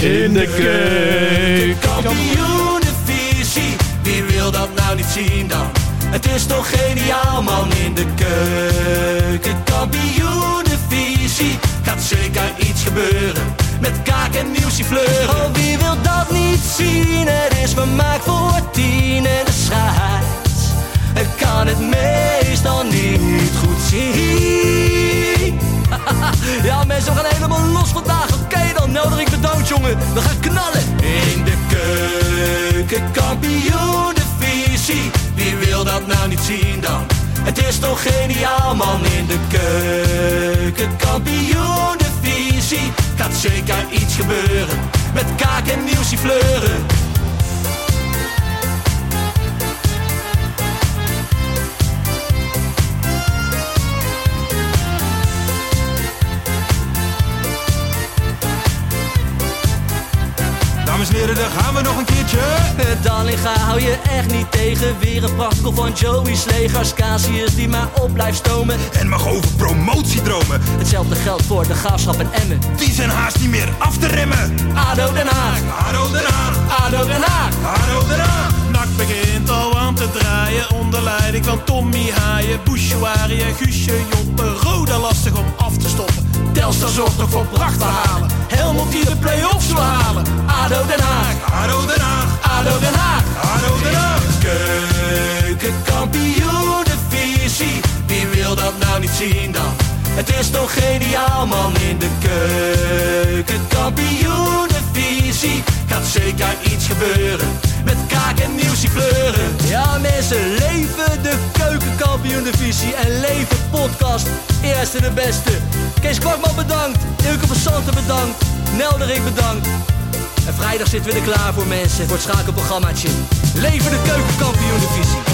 S3: In de keuken.
S8: Kampioenenvisie, wie wil dat nou niet zien dan? Het is toch geniaal man in de keuken. Kampioenenvisie, gaat zeker iets gebeuren. Met kaak en nieuwsje fleuren. Oh, wie wil dat niet zien? Het is vermaakt voor tien en de scheids. Ik kan het meestal niet goed zien. Ja, mensen, we gaan helemaal los vandaag. Oké, dan nodig ik de dood, jongen. We gaan knallen. In de keuken, kampioen, de visie. Wie wil dat nou niet zien dan? Het is toch geniaal, man. In de keuken, kampioen, de visie. Gaat zeker iets gebeuren. Met kaak en nieuwsie fleuren.
S9: Dames en heren, daar gaan we nog een keertje.
S8: Dallinga Eh, hou je echt niet tegen. Weer een prachtkel van Joey's legers. Casius die maar op blijft stomen.
S9: En mag over promotiedromen.
S8: Hetzelfde geldt voor de graafschap en Emmen.
S9: Die zijn haast niet meer af te remmen.
S8: ADO Den Haag,
S9: Haro Den Haag,
S8: ADO Den Haag.
S9: Haro Den Haag.
S8: Nak begint al aan te draaien onder leiding van Tommy Haaien, Bouchouari en Guusje Joppen. Roda lastig om af te stoppen. Telstar zorgt nog voor pracht te halen. Helmond die de play-offs wil halen. ADO Den Haag,
S9: Haro Den Haag,
S8: ADO Den Haag.
S9: Haro Den Haag.
S8: Keukenkampioenenvisie, wie wil dat nou niet zien dan? Het is toch geniaal man in de keukenkampioenenvisie. Gaat zeker iets
S10: iets gebeuren. Met kaak en nieuwsie pleuren.
S3: Ja mensen, leven de keukenkampioen-divisie en leven podcast. Eerste de beste. Kees Kwakman bedankt, Ilke van Santen bedankt, Nelderik bedankt. En vrijdag zitten we er klaar voor mensen, voor het schakelprogrammaatje. Leven de keukenkampioen-divisie.